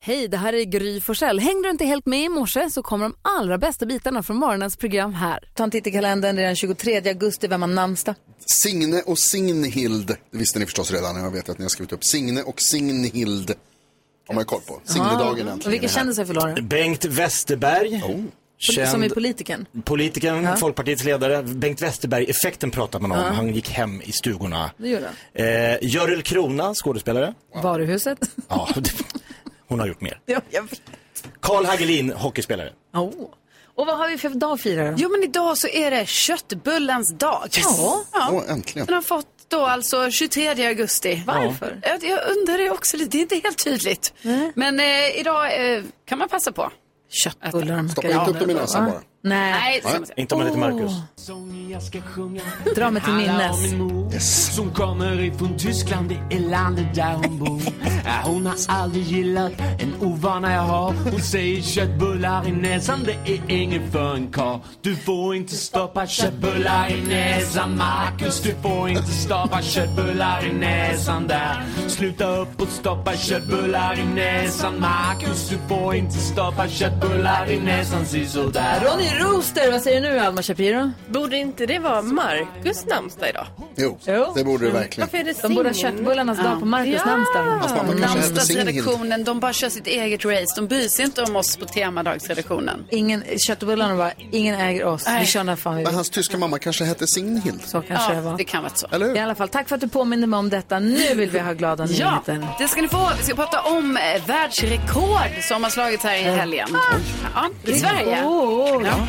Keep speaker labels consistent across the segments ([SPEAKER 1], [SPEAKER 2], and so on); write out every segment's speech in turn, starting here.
[SPEAKER 1] Hej, det här är Gry Forssell. Hängde du inte helt med i morse så kommer de allra bästa bitarna från morgonens program här.
[SPEAKER 2] Ta en titt i kalendern, det är den 23 augusti, vem har namnsdag?
[SPEAKER 3] Signe och Signhild. Det visste ni förstås redan, jag vet att ni har skrivit upp. Signe och Signhild har man ju koll på. Signedagen äntligen.
[SPEAKER 2] Och vilka
[SPEAKER 3] är här.
[SPEAKER 2] kändisar förlorar? Poli-
[SPEAKER 4] Bengt Westerberg.
[SPEAKER 2] Som är
[SPEAKER 4] Känd
[SPEAKER 2] politikern.
[SPEAKER 4] politikern, Folkpartiets ledare. Bengt Westerberg-effekten pratar man om. Han gick hem i stugorna.
[SPEAKER 2] Det gör han.
[SPEAKER 4] Eh, Görel Krona, skådespelare.
[SPEAKER 2] Varuhuset.
[SPEAKER 4] Ja, det- hon har gjort mer.
[SPEAKER 2] ja, jag vet.
[SPEAKER 4] Karl Hagelin, hockeyspelare.
[SPEAKER 2] Åh. Och vad har vi för dag firar
[SPEAKER 5] Jo, men idag så är det köttbullens dag. Ja.
[SPEAKER 3] Åh, äntligen.
[SPEAKER 5] Den har fått då alltså 23 augusti.
[SPEAKER 2] Varför?
[SPEAKER 5] Jag, jag undrar det också lite, det är inte helt tydligt. Men eh, idag eh, kan man passa på.
[SPEAKER 2] Köttbullar de
[SPEAKER 3] Stoppa inte upp dem i näsan bara.
[SPEAKER 2] Nej,
[SPEAKER 5] Nej, det ska man säga.
[SPEAKER 4] Inte om man heter Marcus.
[SPEAKER 6] Sång jag ska sjunga
[SPEAKER 2] dra mig till
[SPEAKER 6] handlar
[SPEAKER 2] minnes.
[SPEAKER 6] om min mor som kommer ifrån Tyskland, det är landet där hon bor. Ja, Hon har aldrig gillat en ovana jag har. Hon säger köttbullar i näsan, det är inget för en karl. Du får inte stoppa köttbullar i näsan, Marcus. Du får inte stoppa köttbullar i näsan där. Sluta upp och stoppa köttbullar i näsan, Marcus. Du får inte stoppa köttbullar i näsan, sisådär.
[SPEAKER 2] Ronny Rooster, vad säger du Alma Shapiro?
[SPEAKER 7] Borde inte det vara Markus namnsdag idag?
[SPEAKER 3] Jo,
[SPEAKER 2] Jo.
[SPEAKER 3] det borde det verkligen.
[SPEAKER 7] Varför är det
[SPEAKER 2] De borde ha
[SPEAKER 7] Signe?
[SPEAKER 2] köttbullarnas dag på Marcus namnsdag.
[SPEAKER 3] Fast mamma kanske heter Signhild.
[SPEAKER 5] Namnsdagsredaktionen, de bara kör sitt eget race. De bryr sig inte om oss på temadagsredaktionen.
[SPEAKER 2] Ingen, köttbullarna var, ingen äger oss. Vi kör när fan vi
[SPEAKER 3] Men
[SPEAKER 2] vill.
[SPEAKER 3] hans tyska mamma kanske hette Signhild.
[SPEAKER 2] Så kanske det
[SPEAKER 5] Ja,
[SPEAKER 2] var.
[SPEAKER 5] det kan vara så.
[SPEAKER 3] Eller
[SPEAKER 2] I
[SPEAKER 3] hur?
[SPEAKER 2] alla fall, tack för att du påminner mig om detta. Nu vill vi ha glada
[SPEAKER 5] Ja,
[SPEAKER 2] nyheter.
[SPEAKER 5] det ska ni få. Vi ska prata om eh, världsrekord som har slagits här i helgen. Ja, I Sverige.
[SPEAKER 2] Eh, Åh, åh,
[SPEAKER 5] Ja.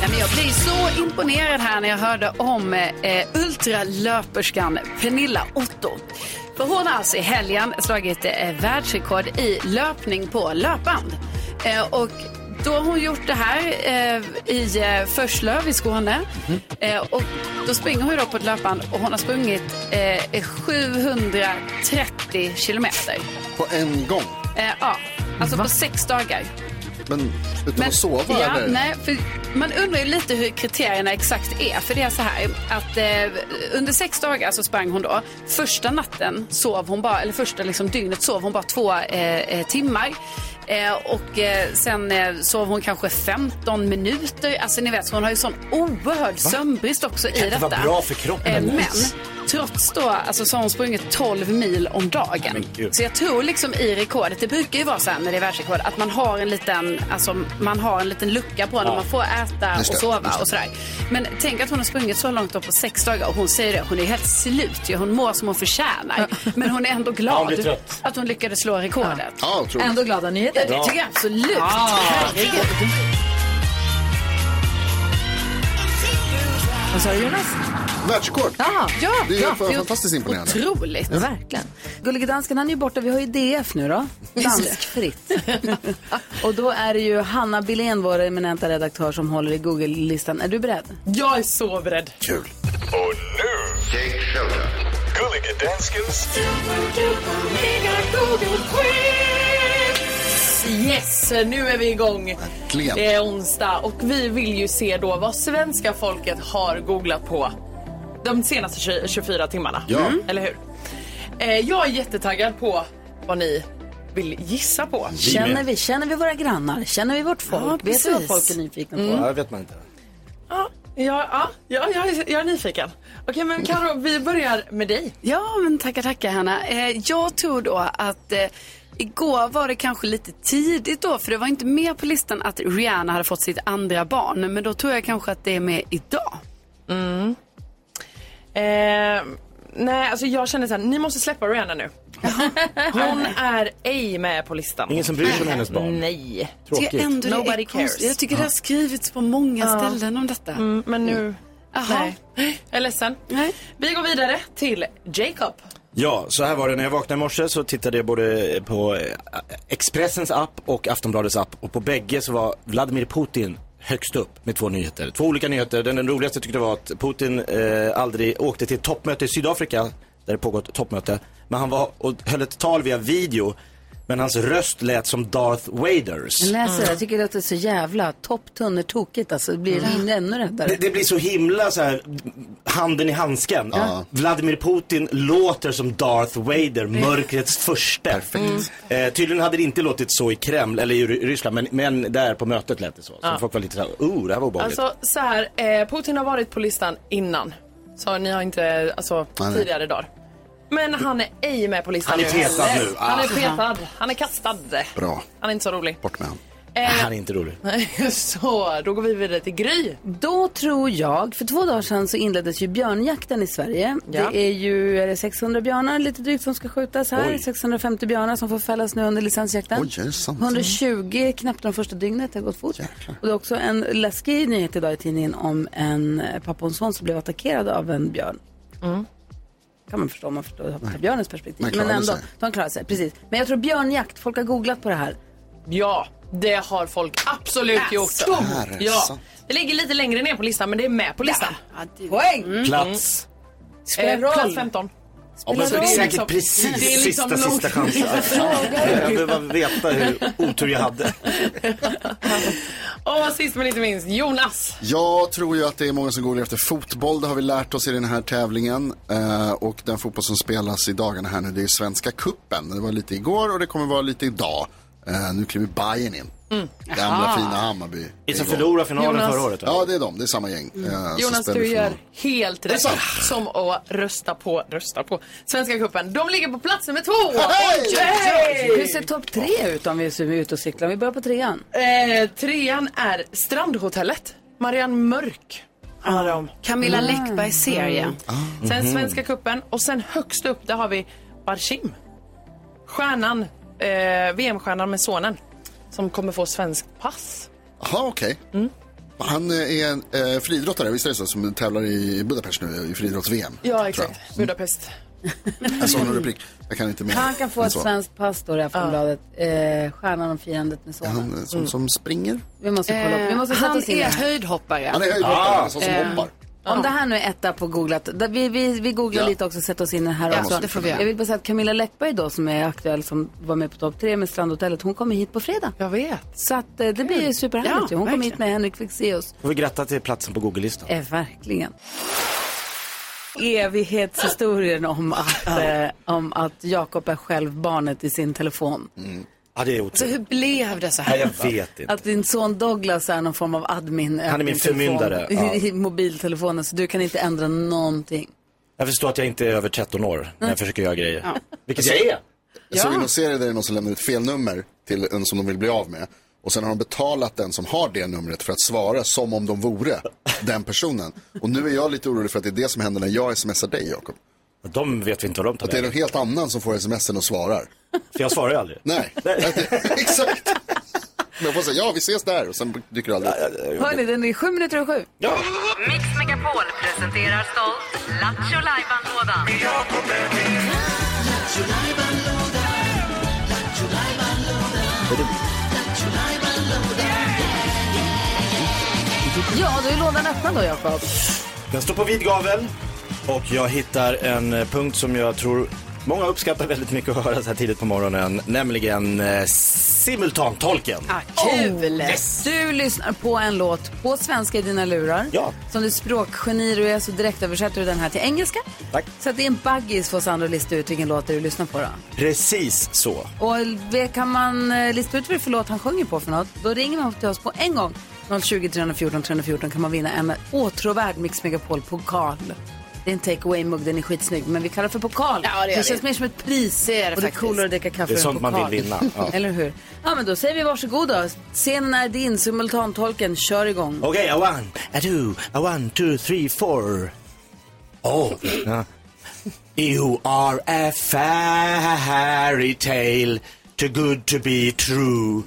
[SPEAKER 5] Nej, men jag blir så imponerad här när jag hörde om eh, ultralöperskan Pernilla Otto. För hon har alltså i helgen slagit eh, världsrekord i löpning på löpband. Eh, och då har hon gjort det här eh, i eh, Förslöv i Skåne. Eh, och då springer hon då på ett löpband och hon har sprungit eh, 730 kilometer.
[SPEAKER 3] På en gång.
[SPEAKER 5] Eh, ja, alltså på sex dagar.
[SPEAKER 3] Men utan att sova
[SPEAKER 5] Ja,
[SPEAKER 3] eller?
[SPEAKER 5] nej, för man undrar ju lite hur kriterierna exakt är. För det är så här att eh, under sex dagar så sprang hon då. Första natten sov hon bara, eller första liksom dygnet sov hon bara två eh, eh, timmar. Eh, och eh, sen eh, sov hon kanske 15 minuter. Alltså ni vet, så hon har ju sån oerhörd sömnbrist också i
[SPEAKER 4] inte
[SPEAKER 5] detta.
[SPEAKER 4] vara bra för kroppen.
[SPEAKER 5] Eh, men trots då, alltså så har hon sprungit 12 mil om dagen.
[SPEAKER 4] gud.
[SPEAKER 5] Så jag tror liksom i rekordet, det brukar ju vara så här när det är världsrekord, att man har en liten, alltså man har en liten lucka på när man får äta
[SPEAKER 3] Just det,
[SPEAKER 5] och sova och sådär. Men tänk att hon har sprungit så långt då på sex dagar och hon säger det, hon är helt slut ju. Hon mår som hon förtjänar. Men hon är ändå
[SPEAKER 4] hon
[SPEAKER 5] glad
[SPEAKER 4] blir trött.
[SPEAKER 5] att hon lyckades slå rekordet.
[SPEAKER 3] Ja, otroligt.
[SPEAKER 2] Ändå glada nyheter.
[SPEAKER 5] Det tycker jag absolut.
[SPEAKER 3] Ah,
[SPEAKER 5] Herregud.
[SPEAKER 2] Vad sa du Jonas?
[SPEAKER 3] Världsrekord.
[SPEAKER 2] Ja,
[SPEAKER 5] Ja,
[SPEAKER 3] Det är
[SPEAKER 5] ja,
[SPEAKER 3] helt fantastiskt imponerande.
[SPEAKER 5] Otroligt.
[SPEAKER 2] verkligen. Gullige dansken, han är ju borta. Vi har ju DF nu då. Danskfritt. och då är det ju Hanna Billén, vår eminenta redaktör, som håller i Google-listan. Är du beredd?
[SPEAKER 7] Jag är så beredd.
[SPEAKER 3] Kul.
[SPEAKER 8] Och nu, Jake Shelton. Gullige Danskens
[SPEAKER 7] Yes, nu är vi igång.
[SPEAKER 3] Äntligen.
[SPEAKER 7] Det är onsdag och vi vill ju se då vad svenska folket har googlat på de senaste 20 24 timmarna.
[SPEAKER 3] Ja. Mm.
[SPEAKER 7] Eller hur? Eh, Jag är jättetaggad på vad ni vill gissa på.
[SPEAKER 2] Känner vi, känner vi våra grannar? Känner vi vårt folk?
[SPEAKER 5] Ja,
[SPEAKER 2] Vet du vad
[SPEAKER 5] precis. Mm.
[SPEAKER 2] folk är nyfikna på?
[SPEAKER 4] Ja, det vet man inte.
[SPEAKER 7] Ja, ja, ja, ja jag, är, jag är nyfiken. Okej, men Karo, vi börjar med dig.
[SPEAKER 5] Ja, men tackar, tackar Hanna. Eh, jag tror då att eh, igår var det kanske lite tidigt då, för det var inte med på listan att Rihanna hade fått sitt andra barn. Men då tror jag kanske att det är med idag.
[SPEAKER 2] Mm.
[SPEAKER 7] Eh, nej, alltså jag känner så här, ni måste släppa Rihanna nu. Hon är ej med på listan.
[SPEAKER 4] Ingen som bryr sig om hennes barn.
[SPEAKER 7] Nej.
[SPEAKER 5] Det är
[SPEAKER 4] Tråkigt.
[SPEAKER 5] ändå det är
[SPEAKER 7] Nobody cares.
[SPEAKER 5] konstigt. Jag tycker det har skrivits på många ställen om detta.
[SPEAKER 7] Mm, Men nu...
[SPEAKER 5] Jaha.
[SPEAKER 7] Nej. Jag är ledsen.
[SPEAKER 5] Nej.
[SPEAKER 7] Vi går vidare till Jacob.
[SPEAKER 4] Ja, så här var det. När jag vaknade i morse så tittade jag både på eh, Expressens app och Aftonbladets app. Och på bägge så var Vladimir Putin högst upp med två nyheter. Två olika nyheter. Den, den roligaste tyckte jag var att Putin eh, aldrig åkte till ett toppmöte i Sydafrika, där det pågått toppmöte. Men han var och höll ett tal via video Men hans röst lät som Darth Vaders.
[SPEAKER 2] Jag läser det, jag tycker det låter så jävla topptunnertokigt. Alltså, det blir ännu räddare.
[SPEAKER 4] Det, det blir så himla så här, handen i handsken. Vladimir Putin låter som Darth Vader, mörkrets förste.
[SPEAKER 7] Mm.
[SPEAKER 4] Eh, tydligen hade det inte låtit så i Kreml, eller i Ry- Ryssland, men, men där på mötet lät det så. Så folk var lite såhär, oh det här var obehagligt.
[SPEAKER 7] Alltså så här, eh, Putin har varit på listan innan. Så ni har inte, alltså
[SPEAKER 3] nej.
[SPEAKER 7] tidigare dagar. Men han är ej med på listan
[SPEAKER 4] Han är petad nu. Ah.
[SPEAKER 7] Nej, Han är petad. Han är kastad.
[SPEAKER 3] Bra.
[SPEAKER 7] Han är inte så rolig. Eh,
[SPEAKER 3] Bort med han.
[SPEAKER 4] Han är inte rolig.
[SPEAKER 7] så, då går vi vidare till Gry.
[SPEAKER 2] Då tror jag, för två dagar sedan så inleddes ju björnjakten i Sverige.
[SPEAKER 7] Ja.
[SPEAKER 2] Det är ju är det 600 björnar lite drygt som ska skjutas här.
[SPEAKER 4] Oj.
[SPEAKER 2] 650 björnar som får fällas nu under licensjakten.
[SPEAKER 3] Oj, är det sant?
[SPEAKER 2] 120 knappt de första dygnet, det har gått fort. Och det är också en läskig nyhet idag i tidningen om en eh, pappa och en son som blev attackerad av en björn.
[SPEAKER 7] Mm.
[SPEAKER 2] Kan man förstå om man förstår tar björnens perspektiv.
[SPEAKER 3] Man
[SPEAKER 2] Men
[SPEAKER 3] klarar
[SPEAKER 2] ändå,
[SPEAKER 3] sig.
[SPEAKER 2] de klarar sig. Precis. Men jag tror björnjakt, folk har googlat på det här. Äh,
[SPEAKER 7] Ja, det har folk absolut gjort.
[SPEAKER 3] Här är
[SPEAKER 7] Ja.
[SPEAKER 4] Alltså.
[SPEAKER 3] sant.
[SPEAKER 7] Det ligger lite längre ner på listan, men det är med på listan.
[SPEAKER 2] Poäng!
[SPEAKER 7] mm.
[SPEAKER 4] Plats.
[SPEAKER 2] Spelar
[SPEAKER 7] Eh,
[SPEAKER 2] roll.
[SPEAKER 7] plats 15.
[SPEAKER 4] Ja, men så är det
[SPEAKER 7] roll.
[SPEAKER 4] säkert
[SPEAKER 7] Liksom-
[SPEAKER 4] precis
[SPEAKER 7] det är liksom
[SPEAKER 4] sista, sista
[SPEAKER 7] långt-
[SPEAKER 4] chansen. jag behöver bara veta hur otur jag hade.
[SPEAKER 7] Och sist men inte minst, Jonas.
[SPEAKER 3] Jag tror ju att det är många som googlar efter fotboll. Det har vi lärt oss i den här tävlingen. Eh, och den fotboll som spelas i dagarna här nu, det är Svenska Kuppen. Det var lite igår och det kommer vara lite idag. Eh, nu kliver Bayern in.
[SPEAKER 2] Mm.
[SPEAKER 3] Gamla fina Hammarby.
[SPEAKER 4] Ni som
[SPEAKER 3] Igår.
[SPEAKER 4] förlorade finalen
[SPEAKER 7] Jonas. Mm.
[SPEAKER 4] förra året. va?
[SPEAKER 3] Ja, det är de. Det är samma gäng. eh, som
[SPEAKER 7] Jonas,
[SPEAKER 3] spelar
[SPEAKER 7] du
[SPEAKER 3] final.
[SPEAKER 7] gör helt rätt som att rösta på, rösta på Svenska cupen. De ligger på plats nummer två!
[SPEAKER 3] Hej!
[SPEAKER 2] Hur ser topp tre ut om vi är ute och cyklar? Vi börjar på trean.
[SPEAKER 7] Eh, trean är Strandhotellet. Marianne Mörk handlar det om.
[SPEAKER 5] Camilla
[SPEAKER 4] Mm.
[SPEAKER 5] Läckbergs serie.
[SPEAKER 7] Sen
[SPEAKER 4] Ah, mhm.
[SPEAKER 7] Svenska cupen och sen högst upp där har vi Barsim. Stjärnan, eh, VM-stjärnan med sonen. Som kommer få svenskt pass.
[SPEAKER 3] Jaha, okej.
[SPEAKER 7] Mm.
[SPEAKER 3] Han eh, är en eh, friidrottare, visst är det så, som tävlar i Budapest nu i friidrotts-VM.
[SPEAKER 7] Ja, exakt. Budapest.
[SPEAKER 3] Mm. Jag såg någon rubrik. Jag kan inte mer.
[SPEAKER 2] Han kan få
[SPEAKER 3] än
[SPEAKER 2] ett
[SPEAKER 3] så.
[SPEAKER 2] svenskt pass står det i Aftonbladet. Eh, stjärnan om firandet med sonen. Mm.
[SPEAKER 3] Han eh,
[SPEAKER 7] Mm.
[SPEAKER 3] som, som springer.
[SPEAKER 2] Vi måste kolla upp. Vi måste sätta
[SPEAKER 5] Eh, Han
[SPEAKER 2] oss in i
[SPEAKER 5] är
[SPEAKER 2] det. Eh,
[SPEAKER 5] höjdhoppare.
[SPEAKER 3] Han är höjdhoppare, ah, sån som hoppar.
[SPEAKER 2] Om det här nu är etta på googlat. där Vi, vi, vi googlar
[SPEAKER 3] Ja.
[SPEAKER 2] lite också och sätter oss in i det här
[SPEAKER 5] Ja,
[SPEAKER 2] också.
[SPEAKER 5] det får vi göra.
[SPEAKER 2] Jag vill bara säga att Camilla Läckberg då som är aktuell som var med på topp tre med Strandhotellet. Hon kommer hit på fredag.
[SPEAKER 7] Jag vet.
[SPEAKER 2] Så att eh, det blir ju superhärligt
[SPEAKER 5] Ja,
[SPEAKER 2] ju. Hon kommer hit
[SPEAKER 5] verkligen.
[SPEAKER 2] med Henrik Fexeus.
[SPEAKER 4] Får vi gratta till platsen på Google-listan.
[SPEAKER 2] Eh, verkligen. Evighetshistorien om att, eh, om att Jakob är själv barnet i sin telefon.
[SPEAKER 4] Mm. Ja, det är
[SPEAKER 5] Så
[SPEAKER 4] otur.
[SPEAKER 5] hur blev det så
[SPEAKER 4] Nej,
[SPEAKER 5] här?
[SPEAKER 4] jag vet inte.
[SPEAKER 2] Att din son Douglas är någon form av admin. eh,
[SPEAKER 4] Han är min förmyndare,
[SPEAKER 2] I,
[SPEAKER 4] ja.
[SPEAKER 2] I mobiltelefonen, så du kan inte ändra någonting.
[SPEAKER 4] Jag förstår att jag inte är över 13 år när jag försöker göra grejer. Vilket jag är.
[SPEAKER 3] Alltså, Jag såg någon serie där det är någon som lämnar ett felnummer till en som de vill bli av med. Och sen har de betalat den som har det numret för att svara som om de vore den personen. Och nu är jag lite orolig för att det är det som händer när jag smsar dig, Jakob.
[SPEAKER 4] De vet vi inte vad de tar
[SPEAKER 3] Det är
[SPEAKER 4] vägen.
[SPEAKER 3] någon helt annan som får smsen och svarar.
[SPEAKER 4] För jag svarar ju aldrig.
[SPEAKER 3] Nej, exakt. Men jag får säga, ja vi ses där och sen dyker det aldrig upp.
[SPEAKER 2] Hörni, den är sju minuter och sju.
[SPEAKER 9] Mix Megapol presenterar stolt Lattjo Lajban-lådan.
[SPEAKER 2] Ja, då är lådan öppnad då, Jakob.
[SPEAKER 4] Den står på vid gavel och jag hittar en eh, punkt som jag tror många uppskattar väldigt mycket att höra så här tidigt på morgonen, nämligen eh, simultantolken.
[SPEAKER 5] Ah,
[SPEAKER 4] Oh,
[SPEAKER 5] kul!
[SPEAKER 2] Du lyssnar på en låt på svenska i dina lurar.
[SPEAKER 4] Ja.
[SPEAKER 2] Som du språkgeni du är så direkt översätter du den här till engelska.
[SPEAKER 4] Tack.
[SPEAKER 2] Så att det är en baggis för oss andra att lista ut vilken låt det är du lyssnar på då.
[SPEAKER 4] Precis så.
[SPEAKER 2] Och det kan man eh, lista ut vad det är för låt han sjunger på för något, då ringer man till oss på en gång. 020 314 314 kan man vinna en åtråvärd Mix Megapol-pokal. Det är en take away-mugg, den är skitsnygg, men vi kallar det för pokal.
[SPEAKER 5] Ja, det gör vi.
[SPEAKER 2] känns mer som ett pris.
[SPEAKER 5] Det är det
[SPEAKER 2] och det är
[SPEAKER 5] faktiskt.
[SPEAKER 2] coolare att dricka kaffe
[SPEAKER 4] Det är
[SPEAKER 2] ur en
[SPEAKER 4] sånt man
[SPEAKER 2] pokal.
[SPEAKER 4] vill vinna, ja.
[SPEAKER 2] Eller hur? Ja, men då säger vi varsågod då. Scenen är din, simultantolken, kör igång.
[SPEAKER 4] Okej, a one, a two, a one, two, three, four. Oh. Ja. You are a fairy tale, too good to be true.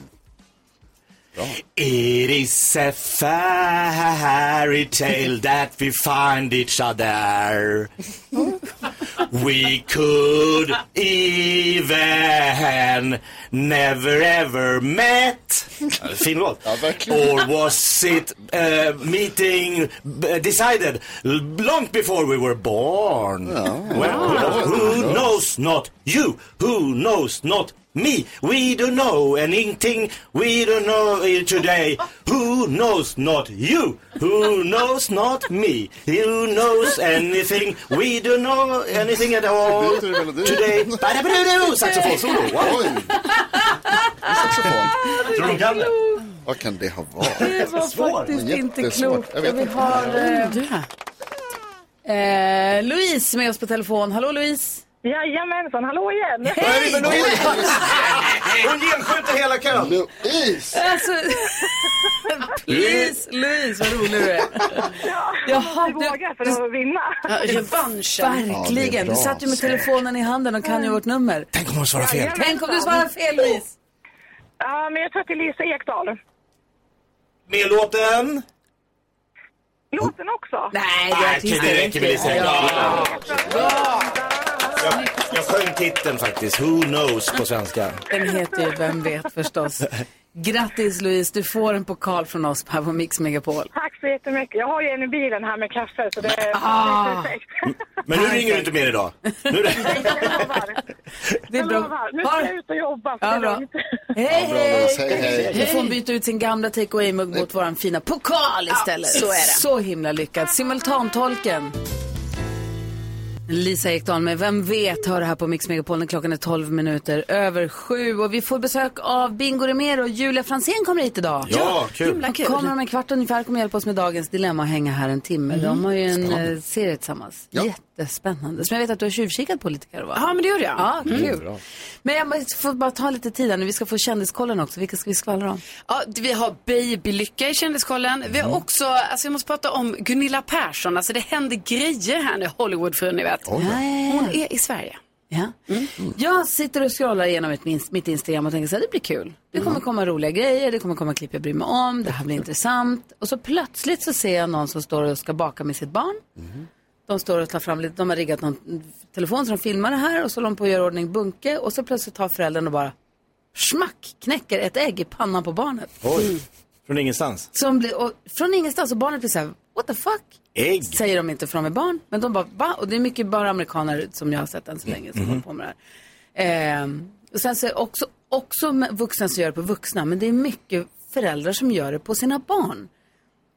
[SPEAKER 4] It is a fairy tale that we find each other. We could even never ever met. Fin låt.
[SPEAKER 3] Ja, verkligen.
[SPEAKER 4] Or was it eh, meeting b- decided l- långt before we were born? Well, who knows not you? Who knows not me. We don't know anything. We don't know it today. Who knows not you? Who knows not me? Who knows anything? We don't know anything at all
[SPEAKER 3] Det är melodin.
[SPEAKER 4] today. Ba-da-ba-da-do. Saxofonsolo. Wow.
[SPEAKER 3] Oj! Saxofon.
[SPEAKER 4] Tror de kan det?
[SPEAKER 3] Vad kan det ha varit?
[SPEAKER 2] Det var
[SPEAKER 4] Svår.
[SPEAKER 2] faktiskt inte
[SPEAKER 3] Jättesvårt.
[SPEAKER 2] klokt.
[SPEAKER 3] Jag vet
[SPEAKER 2] Vi
[SPEAKER 3] inte.
[SPEAKER 2] har eh, eh, Louise med oss på telefon. Hallå Louise!
[SPEAKER 10] Jajamensan, hallå igen!
[SPEAKER 4] Men hon- Hon genskjuter hela kön.
[SPEAKER 3] Louise!
[SPEAKER 2] Alltså, please Louise, vad rolig du är. Jaha,
[SPEAKER 10] Jag
[SPEAKER 2] du,
[SPEAKER 10] vågar för att vinna.
[SPEAKER 2] revanschen.
[SPEAKER 3] Ja, det är
[SPEAKER 2] Verkligen.
[SPEAKER 3] bra.
[SPEAKER 2] Du satt ju med telefonen i handen och kan ju vårt nummer.
[SPEAKER 4] Tänk om hon svarar fel.
[SPEAKER 2] Tänk om du svarar fel Louise.
[SPEAKER 10] Ja, men jag tror att det är Lisa Ekdahl.
[SPEAKER 4] Med låten.
[SPEAKER 10] Låten också.
[SPEAKER 2] Nej, det är
[SPEAKER 4] Okej,
[SPEAKER 2] artisten.
[SPEAKER 4] det räcker med Lisa Ekdahl. Jag, jag sjöng titeln faktiskt. Who knows på svenska.
[SPEAKER 2] Den heter ju Vem vet förstås. Grattis Louise, du får en pokal från oss här på Mix Megapol.
[SPEAKER 10] Tack så jättemycket. Jag har ju en i bilen här med kaffe så det är
[SPEAKER 2] Ah.
[SPEAKER 10] perfekt.
[SPEAKER 4] Men nu ringer du inte mer idag. Nu är
[SPEAKER 10] Jag lovar.
[SPEAKER 2] Det är
[SPEAKER 10] Jag
[SPEAKER 2] bra.
[SPEAKER 10] lovar. Nu
[SPEAKER 2] Ha
[SPEAKER 10] ska
[SPEAKER 2] det.
[SPEAKER 10] jag ut och jobba för
[SPEAKER 2] Ja,
[SPEAKER 10] det
[SPEAKER 2] bra.
[SPEAKER 10] är lugnt.
[SPEAKER 2] Hej,
[SPEAKER 3] Bra, Louise.
[SPEAKER 2] hej!
[SPEAKER 3] Hej, hej.
[SPEAKER 2] Nu får hon byta ut sin gamla take away-mugg mot våran fina pokal istället. så är det. Så himla lyckad. Simultantolken. Lisa Ekdahl med Vem vet hör det här på Mix Megapol när klockan är 12 minuter över sju. Och vi får besök av Bingo Rimér och Julia Fransén kommer hit idag.
[SPEAKER 4] Ja, kul.
[SPEAKER 2] De kommer om en kvart ungefär, kommer hjälpa oss med dagens dilemma och hänga här en timme. De har ju en eh, serie tillsammans.
[SPEAKER 3] Ja.
[SPEAKER 2] Jättespännande. Som jag vet att du har tjuvkikat på lite Karo, va?
[SPEAKER 5] Ja, Mm. men det gjorde jag.
[SPEAKER 2] Ja, kul. Men jag måste- får bara ta lite tid här nu. Vi ska få kändiskollen också. Vilka ska vi skvallra om?
[SPEAKER 5] Ja, vi har babylycka i Kändiskollen. Vi
[SPEAKER 4] Mm.
[SPEAKER 5] har också, alltså jag måste prata om Gunilla Persson. Alltså det händer grejer här nu, Hollywoodfrun ni vet. Hon är i Sverige.
[SPEAKER 2] Ja. Mm. Jag sitter och scrollar igenom mitt, min- mitt Instagram och tänker så här, det blir kul. Det kommer komma roliga grejer, det kommer komma klipp jag bryr mig om, det här blir intressant. Och så plötsligt så ser jag någon som står och ska baka med sitt barn. De står och tar fram lite, de har riggat någon telefon så de filmar det här och så håller de på och gör ordning bunke och så plötsligt tar föräldern och bara smack knäcker ett ägg i pannan på barnet.
[SPEAKER 4] Oj. Från ingenstans.
[SPEAKER 2] Som blir, och från ingenstans och barnet blir så här, what the fuck?
[SPEAKER 4] Ägg.
[SPEAKER 2] säger de inte för de är barn. Men de bara, va? Och det är mycket bara amerikaner som jag har sett än så länge som håller på med det här. Ehm, och sen så är det också, också med vuxna som gör det på vuxna, men det är mycket föräldrar som gör det på sina barn.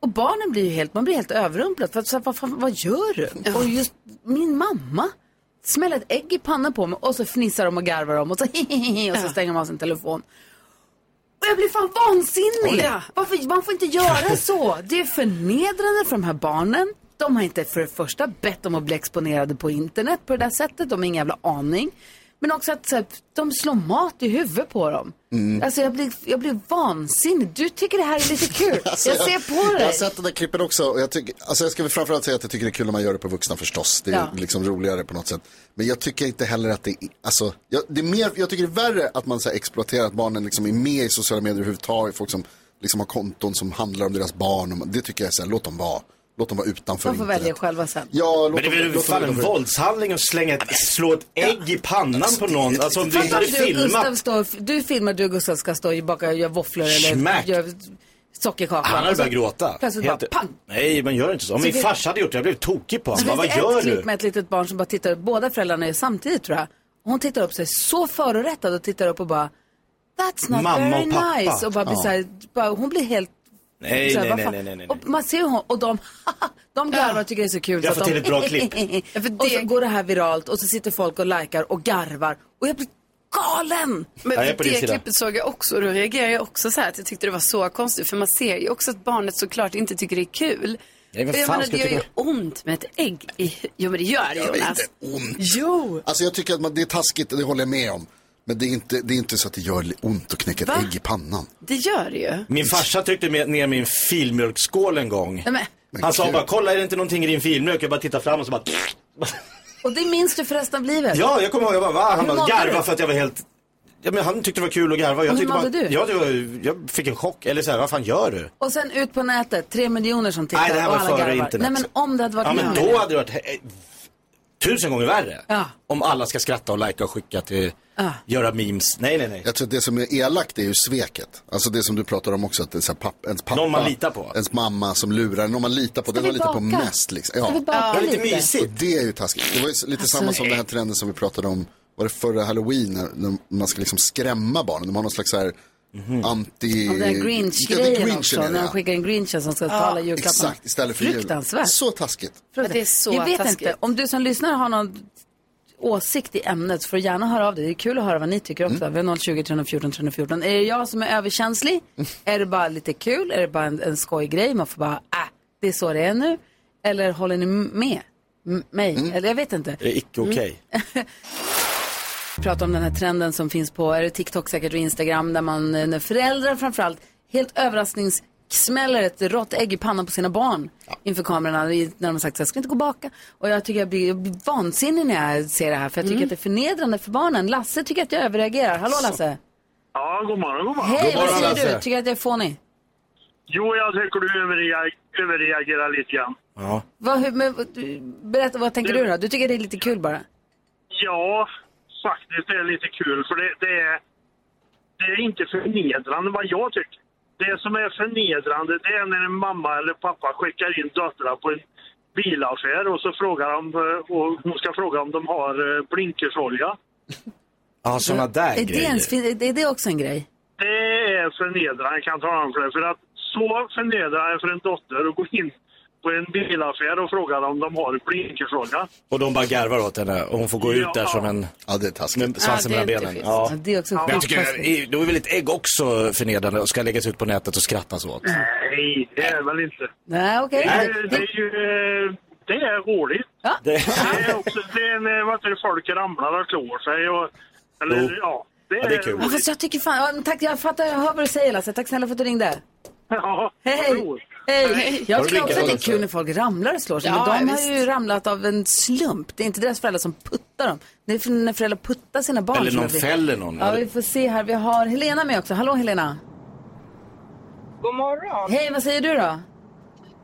[SPEAKER 2] Och barnen blir ju helt, man blir helt överrumplad. För att, så här, vad, fan, vad gör du? Och just min mamma smäller ett ägg i pannan på mig och så fnissar de och garvar de och så och så stänger man av sin telefon. Och jag blir fan vansinnig! Varför, man får inte göra så. Det är förnedrande för de här barnen. De har inte för det första bett om att bli exponerade på internet på det där sättet. De har ingen jävla aning. Men också att så här, de slår mat i huvudet på dem. Alltså jag blir, jag blir vansinnig. Du tycker det här är lite kul.
[SPEAKER 3] Alltså,
[SPEAKER 2] jag ser på dig.
[SPEAKER 3] Jag har sett det där klippet också. Och jag, tycker, alltså jag ska väl framförallt säga att jag tycker det är kul när man gör det på vuxna förstås. Det är
[SPEAKER 2] Ja.
[SPEAKER 3] liksom roligare på något sätt. Men jag tycker inte heller att det är, alltså, jag, det är mer, jag tycker det är värre att man så här, exploaterar att barnen liksom är med i sociala medier överhuvudtaget. Folk som liksom har konton som handlar om deras barn. Och, det tycker jag är så här, låt dem vara. Låt dem vara utanför
[SPEAKER 2] De får välja själva sen.
[SPEAKER 3] Ja, låt
[SPEAKER 4] Men det
[SPEAKER 3] dem-
[SPEAKER 4] är väl
[SPEAKER 3] låt dem
[SPEAKER 4] fan en
[SPEAKER 3] utanför.
[SPEAKER 4] våldshandling att slänga ett, slå ett ägg i pannan på någon. Alltså om du inte
[SPEAKER 2] Fattar
[SPEAKER 4] hade
[SPEAKER 2] du, Gustav
[SPEAKER 4] filmat.
[SPEAKER 2] står, du filmar, du och Gustav ska stå och baka, göra våfflor eller
[SPEAKER 4] Smack.
[SPEAKER 2] gör sockerkaka.
[SPEAKER 4] Han hade
[SPEAKER 2] Och så
[SPEAKER 4] börjat gråta.
[SPEAKER 2] Plötsligt
[SPEAKER 4] Helt-
[SPEAKER 2] bara pang.
[SPEAKER 4] Nej, men gör inte så. Om min
[SPEAKER 2] det-
[SPEAKER 4] farsa hade gjort det, jag blev tokig på honom.
[SPEAKER 2] Så
[SPEAKER 4] Bara,
[SPEAKER 2] finns
[SPEAKER 4] Vad
[SPEAKER 2] det
[SPEAKER 4] gör
[SPEAKER 2] ett klipp
[SPEAKER 4] du?
[SPEAKER 2] med ett litet barn som bara tittar, båda föräldrarna är samtidigt tror jag. Och hon tittar upp sig så förorättad och tittar upp och bara That's not
[SPEAKER 4] Mamma
[SPEAKER 2] very
[SPEAKER 4] och pappa."
[SPEAKER 2] nice. Och bara blir så här, bara, hon blir helt
[SPEAKER 4] Nej,
[SPEAKER 2] så här,
[SPEAKER 4] nej,
[SPEAKER 2] "Vad
[SPEAKER 4] nej,
[SPEAKER 2] fan?"
[SPEAKER 4] nej, nej, nej.
[SPEAKER 2] Och man ser hon, och de, de garvar och tycker det är så kul.
[SPEAKER 4] Jag
[SPEAKER 2] så
[SPEAKER 4] får
[SPEAKER 2] att de,
[SPEAKER 4] till ett bra klipp.
[SPEAKER 5] Ja, för
[SPEAKER 2] Och
[SPEAKER 5] det-
[SPEAKER 2] så går det här viralt och så sitter folk och likar och garvar. Och jag blir galen!
[SPEAKER 5] Men
[SPEAKER 4] Ja, jag är på din
[SPEAKER 5] det
[SPEAKER 4] sida.
[SPEAKER 5] klippet såg jag också och då reagerade jag också så här att jag tyckte det var så konstigt. För man ser ju också att barnet såklart inte tycker det är kul.
[SPEAKER 4] Nej, vad
[SPEAKER 5] Och jag
[SPEAKER 4] fan
[SPEAKER 5] menar,
[SPEAKER 4] ska
[SPEAKER 5] det gör
[SPEAKER 4] jag
[SPEAKER 5] ju ont med ett ägg i hu- Jo, men det gör
[SPEAKER 3] Det
[SPEAKER 5] det
[SPEAKER 3] är
[SPEAKER 5] Jonas.
[SPEAKER 3] inte ont.
[SPEAKER 5] Jo.
[SPEAKER 3] Alltså jag tycker att man, det är taskigt, och det håller jag med om. Men det är inte, det är inte så att det gör ont att knäcka ett ägg i pannan.
[SPEAKER 5] Det gör det ju.
[SPEAKER 4] Min farsa tryckte med- ner min filmjölksskål en gång.
[SPEAKER 2] Nej, men,
[SPEAKER 4] Han sa
[SPEAKER 3] gud.
[SPEAKER 4] bara, kolla är det inte någonting i din filmjölk? Jag bara tittade fram och så bara...
[SPEAKER 2] och det minns du för resten av livet.
[SPEAKER 4] Ja, jag kommer ihåg, jag bara, va? Han
[SPEAKER 2] Hur
[SPEAKER 4] bara
[SPEAKER 2] mådde
[SPEAKER 4] garva
[SPEAKER 2] du?
[SPEAKER 4] för att jag var helt... Ja, men han tyckte det var kul att garva. Jag
[SPEAKER 2] Och hur
[SPEAKER 4] tyckte bara,
[SPEAKER 2] mådde du?
[SPEAKER 4] Ja, det var, jag fick en chock. Eller så här, vad fan gör du?
[SPEAKER 2] Och sen ut på nätet, tre miljoner som tittar
[SPEAKER 4] Nej, det här
[SPEAKER 2] och
[SPEAKER 4] var
[SPEAKER 2] alla
[SPEAKER 4] före
[SPEAKER 2] garvar.
[SPEAKER 4] internet.
[SPEAKER 2] Nej men om det hade varit
[SPEAKER 4] Ja, men
[SPEAKER 2] med
[SPEAKER 4] då
[SPEAKER 2] om det.
[SPEAKER 4] hade det varit eh, tusen gånger värre.
[SPEAKER 2] Ja.
[SPEAKER 4] Om alla ska skratta och likea och skicka till,
[SPEAKER 2] Ja.
[SPEAKER 4] göra memes. Nej, nej, nej.
[SPEAKER 3] Jag tror att det som är elakt är ju sveket. Alltså det som du pratar om också, att det är så här papp, ens pappa.
[SPEAKER 4] Någon man litar på.
[SPEAKER 3] Ens mamma som lurar, någon man litar på.
[SPEAKER 2] Ska
[SPEAKER 3] Den man
[SPEAKER 2] vi
[SPEAKER 3] litar på
[SPEAKER 2] baka?
[SPEAKER 3] mest liksom.
[SPEAKER 2] Ska vi
[SPEAKER 3] Ja.
[SPEAKER 2] baka
[SPEAKER 4] Det var
[SPEAKER 2] lite? Alltså,
[SPEAKER 4] lite mysigt.
[SPEAKER 3] Och det är ju taskigt. Det var ju s- lite samma som den här trenden som vi pratade om var det förra halloween, när, när man ska liksom skrämma barnen. De har någon slags så här
[SPEAKER 4] Mhm.
[SPEAKER 3] anti...
[SPEAKER 2] Och den här
[SPEAKER 3] Ja,
[SPEAKER 2] Grinch-grejen
[SPEAKER 3] den Grinchen
[SPEAKER 2] också,
[SPEAKER 3] är det,
[SPEAKER 2] när
[SPEAKER 3] ja.
[SPEAKER 2] de skickar en Grinchen som ska ja, tala julklapparna.
[SPEAKER 3] Exakt, istället för
[SPEAKER 2] Fruktansvärt.
[SPEAKER 3] jul. Så taskigt.
[SPEAKER 5] Men det är så
[SPEAKER 2] jag vet
[SPEAKER 5] taskigt.
[SPEAKER 2] inte, om du som lyssnare har någon åsikt i ämnet så får du gärna höra av dig. Det är kul att höra vad ni tycker också.
[SPEAKER 4] Mm.
[SPEAKER 2] Vi har 020 314 314. Är det jag som är överkänslig?
[SPEAKER 4] Mm.
[SPEAKER 2] Är det bara lite kul? Är det bara en, en skojgrej? Man får bara, äh, det är så det är nu. Eller håller ni med M- mig? Eller jag vet inte.
[SPEAKER 4] Mm.
[SPEAKER 2] Mm.
[SPEAKER 4] Det är icke okej.
[SPEAKER 2] prata om den här trenden som finns på är det TikTok säkert och Instagram där man eh, när föräldrar framförallt helt överrasknings smäller ett rått ägg i pannan på sina barn inför kamerorna i- när de har sagt så här, ska vi inte gå baka? Och jag tycker jag blir, jag blir vansinnig när jag ser det här för jag tycker att det är förnedrande för barnen. Lasse tycker att jag överreagerar. Hallå Lasse!
[SPEAKER 11] Ja, god morgon, god morgon.
[SPEAKER 2] Hej, vad säger du? Tycker att jag är fånig?
[SPEAKER 11] Jo, jag tycker du överreag- överreagerar lite grann.
[SPEAKER 4] Ja.
[SPEAKER 2] Vad, hur, men, vad- du- berätta, vad tänker du då? Du tycker det är lite kul bara?
[SPEAKER 11] Ja, faktiskt det är lite kul för det, det är... Det är inte förnedrande vad jag tycker. Det som är förnedrande det är när en mamma eller pappa skickar in döttrar på en bilaffär och så frågar de, eh, och hon ska fråga om de har eh, blinkersolja.
[SPEAKER 4] Ja, sådana där
[SPEAKER 2] Är det,
[SPEAKER 4] grejer.
[SPEAKER 2] ens, fin- är det också en grej?
[SPEAKER 11] Det är förnedrande kan jag tala om för dig. För att så förnedrande för en dotter att gå in på en bilaffär och fråga om de har blinkersolja.
[SPEAKER 4] Och de bara garvar åt henne och hon får gå ut där som en...
[SPEAKER 3] Ja, det är taskigt.
[SPEAKER 4] Med svansen
[SPEAKER 11] Ja, det är
[SPEAKER 4] mellan
[SPEAKER 11] inte schysst.
[SPEAKER 4] benen. Ja.
[SPEAKER 2] Ja, det är också
[SPEAKER 4] Men jag
[SPEAKER 2] skitfast.
[SPEAKER 4] tycker, då är väl ett ägg också förnedrande och ska läggas ut på nätet och skrattas åt.
[SPEAKER 11] Nej, det är väl inte.
[SPEAKER 2] Nej, okej.
[SPEAKER 11] Det, är- det är ju... eh, Det är roligt.
[SPEAKER 4] Det
[SPEAKER 11] är också... Det är när vad heter det, folk ramlar och klår sig och... Eller
[SPEAKER 4] Jo.
[SPEAKER 11] ja. Det är,
[SPEAKER 4] Ja, det är kul.
[SPEAKER 2] Ja, fast jag tycker fan, ja, men tack, jag fattar, jag hör vad du säger Lasse. Tack snälla för att du ringde.
[SPEAKER 11] Ja,
[SPEAKER 2] Hej!
[SPEAKER 11] roligt.
[SPEAKER 2] Hej!
[SPEAKER 4] Har
[SPEAKER 2] Jag
[SPEAKER 4] du
[SPEAKER 2] tycker också att det är
[SPEAKER 4] lyckats?
[SPEAKER 2] kul när folk ramlar och slår sig.
[SPEAKER 5] Ja,
[SPEAKER 2] men de har
[SPEAKER 5] visst.
[SPEAKER 2] ju ramlat av en slump. Det är inte deras föräldrar som puttar dem. Det är för- när föräldrar puttar sina barn.
[SPEAKER 4] Eller
[SPEAKER 2] som
[SPEAKER 4] någon
[SPEAKER 2] det blir.
[SPEAKER 4] fäller någon.
[SPEAKER 2] Ja, vi får se här. Vi har Helena med också. Hallå Helena!
[SPEAKER 12] God morgon.
[SPEAKER 2] Hej, vad säger du då?